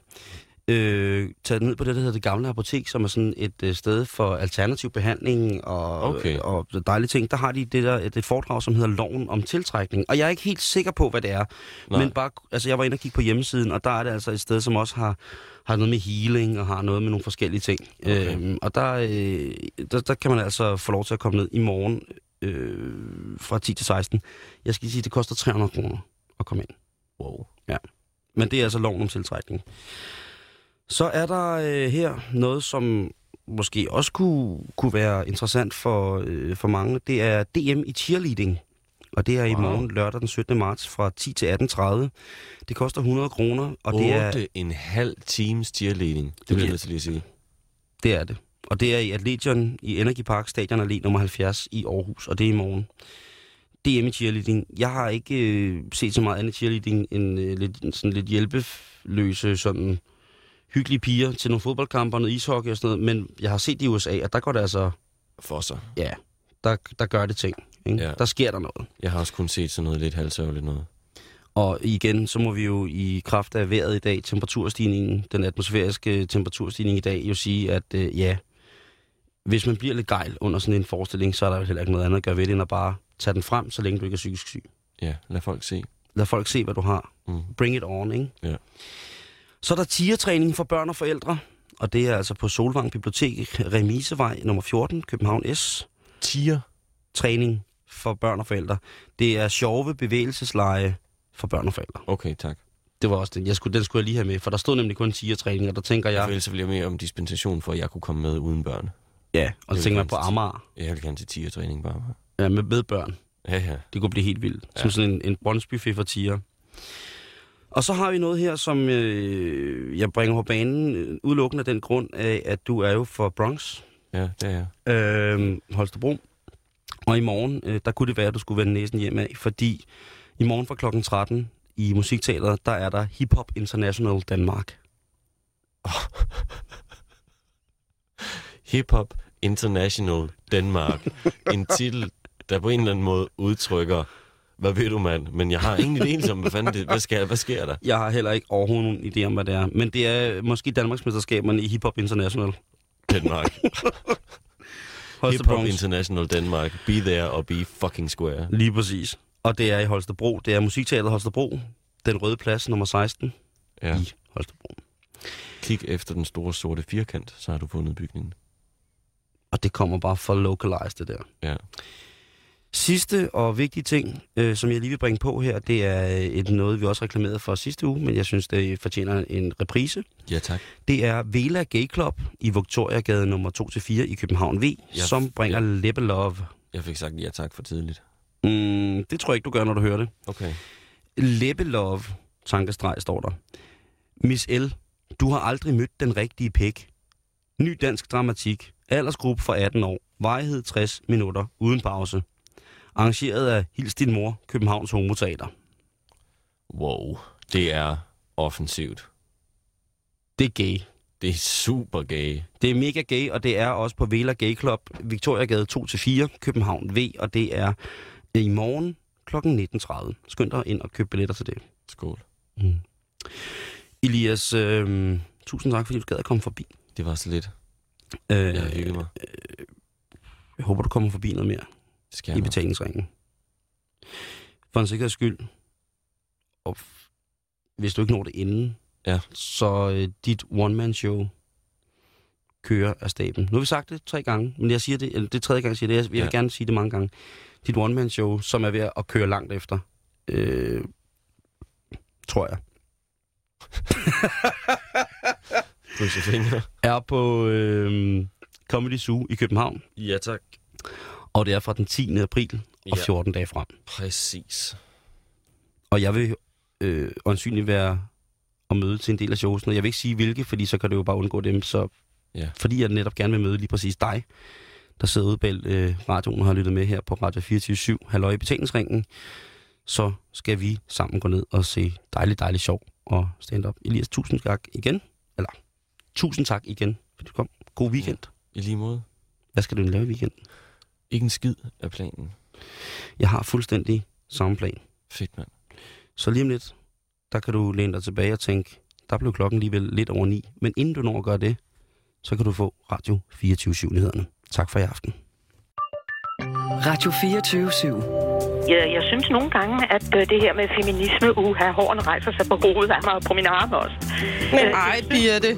Speaker 2: øh, tage ned på det, der hedder det gamle apotek, som er sådan et øh, sted for alternativ behandling og,
Speaker 3: Okay.
Speaker 2: og dejlige ting. Der har de det der, et foredrag, som hedder Loven om tiltrækning. Og jeg er ikke helt sikker på, hvad det er. Nej.
Speaker 3: Nej.
Speaker 2: Men bare, altså, jeg var inde og kigge på hjemmesiden, og der er det altså et sted, som også har, har noget med healing og har noget med nogle forskellige ting.
Speaker 3: Okay.
Speaker 2: Øhm, og der, øh, der, der kan man altså få lov til at komme ned i morgen øh, fra 10 til 16. Jeg skal lige sige, det koster 300 kroner at komme ind.
Speaker 3: Wow.
Speaker 2: Men det er altså loven om tiltrækning. Så er der øh, her noget, som måske også kunne, kunne være interessant for, øh, for mange. Det er DM i cheerleading. Og det er i
Speaker 3: Wow.
Speaker 2: morgen lørdag den 17. marts fra 10 til 18.30. Det koster 100 kroner, og det er,
Speaker 3: Otte en halv times cheerleading. Det bliver
Speaker 2: bliver-
Speaker 3: jeg nødt til lige at sige.
Speaker 2: det er det. Og det er i Atletion i Energy Park, stadion Allé nummer 70 i Aarhus, og det er i morgen. DM i cheerleading. Jeg har ikke øh, set så meget andet cheerleading end øh, lidt, sådan lidt hjælpeløse, sådan hyggelige piger til nogle fodboldkampe og noget ishockey og sådan noget, men jeg har set det i USA, og der går det altså,
Speaker 3: For sig.
Speaker 2: ja, der, der gør det ting. Ikke?
Speaker 3: Ja.
Speaker 2: Der sker der noget.
Speaker 3: Jeg har også kun set sådan noget lidt halvsørgeligt noget.
Speaker 2: Og igen, så må vi jo i kraft af vejret i dag, temperaturstigningen, den atmosfæriske temperaturstigning i dag, jo sige, at øh, ja, hvis man bliver lidt gejl under sådan en forestilling, så er der vel heller ikke noget andet at gøre ved det, end at bare tage den frem, så længe du ikke er psykisk syg.
Speaker 3: Ja, lad folk se.
Speaker 2: Lad folk se, hvad du har.
Speaker 3: Mm.
Speaker 2: Bring it on, ikke?
Speaker 3: Ja.
Speaker 2: Så er der tigertræning for børn og forældre, og det er altså på Solvang Bibliotek, Remisevej nummer 14, København S
Speaker 3: Tier.
Speaker 2: træning for børn og forældre. Det er sjove bevægelsesleje for børn og forældre.
Speaker 3: Okay, tak.
Speaker 2: Det var også den. Jeg skulle, den skulle jeg lige have med, for der stod nemlig kun 10 træning, og der tænker
Speaker 3: Ja. For
Speaker 2: jeg,
Speaker 3: ellers så ville jeg mere om dispensation for, at jeg kunne komme med uden børn.
Speaker 2: ja, og
Speaker 3: vil
Speaker 2: så tænker
Speaker 3: jeg
Speaker 2: man på
Speaker 3: gerne
Speaker 2: Amager,
Speaker 3: Jeg vil gerne til tigertræning bare.
Speaker 2: ja, med, med børn.
Speaker 3: Ja, ja.
Speaker 2: Det kunne blive helt vildt. Ja. Som
Speaker 3: Ja.
Speaker 2: sådan en, en brøndsbuffet for tiger. Og så har vi noget her, som øh, jeg bringer på banen, øh, udelukkende af den grund af, at du er jo fra Bronx,
Speaker 3: Ja, det er jeg.
Speaker 2: øh, Holstebro. Og i morgen, øh, der kunne det være, at du skulle vende næsen hjem af, fordi I morgen fra klokken 13 i Musikteateret, der er der Hip Hop International Danmark.
Speaker 3: <laughs> Hip Hop International Danmark. en titel, der på en eller anden måde udtrykker, hvad ved du, mand? Men jeg har egentlig det eneste om, hvad fanden det, hvad, sker, hvad sker der?
Speaker 2: Jeg har heller ikke overhovedet nogen idé om, hvad det er. Men det er måske Danmarksmesterskaberne i Hip Hop International.
Speaker 3: Danmark.
Speaker 2: Holstebro
Speaker 3: Hip Hop
Speaker 2: Bronx.
Speaker 3: International Danmark. Be there og be fucking square.
Speaker 2: Lige præcis. Og det er i Holstebro. Det er Musikteateret Holstebro. Den røde plads, nummer 16
Speaker 3: Ja.
Speaker 2: i Holstebro.
Speaker 3: Kig efter den store sorte firkant, så har du fundet bygningen.
Speaker 2: Og det kommer bare for localized, det der.
Speaker 3: Ja.
Speaker 2: Sidste og vigtige ting, øh, som jeg lige vil bringe på her, det er øh, et noget, vi også reklamerede for sidste uge, men jeg synes, det fortjener en reprise.
Speaker 3: Ja, tak.
Speaker 2: Det er Vela Gay Club i Victoriagade nummer 2-4 i København V,
Speaker 3: Ja,
Speaker 2: som bringer Leppe Love.
Speaker 3: Jeg fik sagt ja tak for tidligt.
Speaker 2: Mm, det tror jeg ikke, du gør, når du hører det.
Speaker 3: Okay.
Speaker 2: Leppe Love, tankestreg står der. Miss L, du har aldrig mødt den rigtige pæk. Ny dansk dramatik. Aldersgruppe fra 18 år. Vejhed 60 minutter uden pause. Arrangeret af Hils din mor, Københavns Homoteater.
Speaker 3: Wow. Det er offensivt.
Speaker 2: Det er gay.
Speaker 3: Det er super gay.
Speaker 2: Det er mega gay, og det er også på Vela Gay Club, Victoriagade 2-4, København V, og det er i morgen kl. 19.30. Skynd dig ind og køb billetter til det.
Speaker 3: Skål.
Speaker 2: Mm. Elias, øh, tusind tak, fordi du gad at komme forbi.
Speaker 3: Det var så lidt.
Speaker 2: Øh,
Speaker 3: Jeg har hygget mig.
Speaker 2: jeg håber, du kommer forbi noget mere
Speaker 3: Det skal
Speaker 2: i
Speaker 3: jeg nok.
Speaker 2: betalingsringen. For en sikkerheds skyld, og f- hvis du ikke når det inden,
Speaker 3: Ja.
Speaker 2: så øh, dit one-man-show kører af staben. Nu har vi sagt det tre gange, men jeg siger det, eller det er tredje gang, jeg siger det, jeg, jeg vil
Speaker 3: Ja.
Speaker 2: gerne sige det mange gange. Dit one-man-show, som er ved at køre langt efter, øh, tror jeg,
Speaker 3: Krydse fingre.
Speaker 2: er på øh, Comedy Zoo i København,
Speaker 3: Ja tak.
Speaker 2: og det er fra den 10. april og
Speaker 3: Ja.
Speaker 2: 14 dage frem.
Speaker 3: Præcis.
Speaker 2: Og jeg vil øh, åndsynligt være at møde til en del af showsene. Jeg vil ikke sige hvilke, fordi så kan du jo bare undgå dem. Så,
Speaker 3: Ja.
Speaker 2: Fordi jeg netop gerne vil møde lige præcis dig, der sidder ude bag øh, radioen og har lyttet med her på Radio 24 Halløj i betalingsringen. Så skal vi sammen gå ned og se dejligt, dejligt sjov og stand-up. Elias, tusind tak igen. Eller, tusind tak igen, fordi du kom. God weekend.
Speaker 3: I lige måde.
Speaker 2: Hvad skal du lave i weekenden?
Speaker 3: Ikke en skid af planen.
Speaker 2: Jeg har fuldstændig samme plan.
Speaker 3: Fedt, mand.
Speaker 2: Så lige om lidt, der kan du læne dig tilbage og tænke, der blev klokken alligevel lidt over ni. Men inden du når at gøre det, så kan du få Radio 24 nyhederne Tak for i aften.
Speaker 4: Radio 24 /7.
Speaker 5: Jeg, jeg synes nogle gange, at øh, det her med feminisme, uha, hårene rejser sig på hovedet af mig og på mine arme også.
Speaker 6: Men ej, Birte.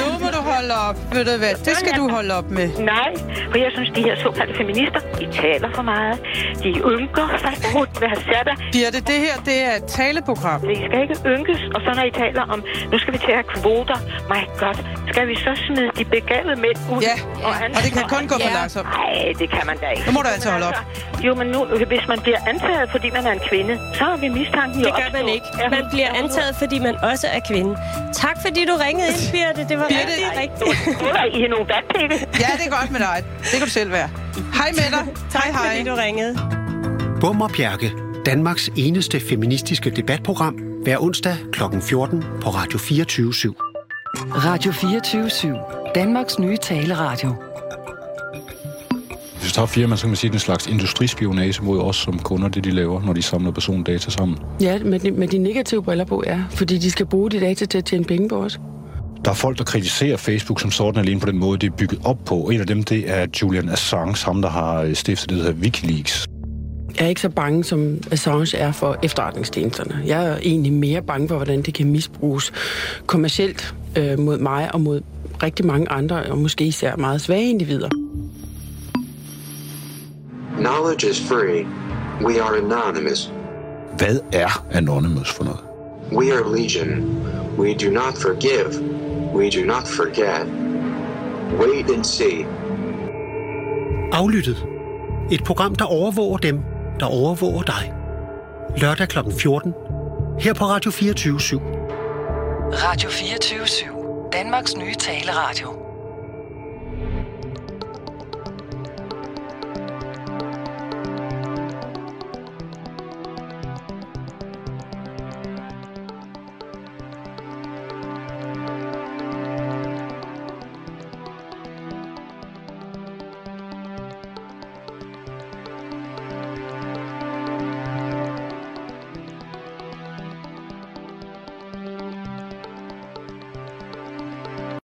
Speaker 6: Nu må du holde op. Ved du hvad? Det skal du holde op med.
Speaker 5: Nej, for jeg synes, de her såkaldte feminister, de taler for meget. De ynker fast rundt ved Hassada.
Speaker 6: Birte, det her det er et taleprogram.
Speaker 5: Vi skal ikke ynkes, og så når I taler om, nu skal vi til at have kvoter. My god, skal vi så smide de begavede mænd ud?
Speaker 6: Ja, og det kan kun gå for
Speaker 5: Ja.
Speaker 6: langsomt.
Speaker 5: Nej, det kan man da ikke.
Speaker 6: Nu må du altså holde op.
Speaker 5: Jo, men nu, hvis man bliver antaget, fordi man er en kvinde, så har vi mistanken jo
Speaker 7: Det gør man
Speaker 5: opstået.
Speaker 7: ikke.
Speaker 5: Er hun-
Speaker 7: Man bliver
Speaker 5: er hun-
Speaker 7: antaget, fordi man også er kvinde. Tak, fordi du ringede ind, Birte. Det var
Speaker 6: Birte.
Speaker 7: rigtig,
Speaker 6: Ej,
Speaker 7: rigtigt.
Speaker 5: Eller I er nogle vatpikke.
Speaker 6: Ja, det er godt med dig. Det kan du selv være. Hej med dig. Hej,
Speaker 7: <laughs> Tak, fordi
Speaker 6: hej.
Speaker 7: du ringede.
Speaker 8: Bum og Bjerke, Danmarks eneste feministiske debatprogram, hver onsdag kl. 14 på Radio 24 7.
Speaker 4: Radio 24 /7. Danmarks nye taleradio.
Speaker 9: Hvis du tager firma, så kan man sige, at det er en slags industrispionage mod os som kunder, det de laver, når de samler persondata sammen.
Speaker 10: Ja, med de, med de negative briller på, ja. Fordi de skal bruge de data til at tjene penge på os.
Speaker 9: Der er folk, der kritiserer Facebook som sådan alene på den måde, det er bygget op på. En af dem, det er Julian Assange, ham der har øh, stiftet det, der hedder Wikileaks.
Speaker 10: Jeg er ikke så bange, som Assange er for efterretningstjenesterne. Jeg er egentlig mere bange for, hvordan det kan misbruges kommercielt øh, mod mig og mod rigtig mange andre, og måske især meget svage individer.
Speaker 11: Knowledge is free. We are anonymous.
Speaker 9: Hvad er Anonymous for noget?
Speaker 11: We are legion. We do not forgive. We do not forget. Wait and see.
Speaker 8: Aflyttet. Et program, der overvåger dem, der overvåger dig. Lørdag kl. 14. Her på Radio 24 7.
Speaker 4: Radio 24 /7. Danmarks nye taleradio.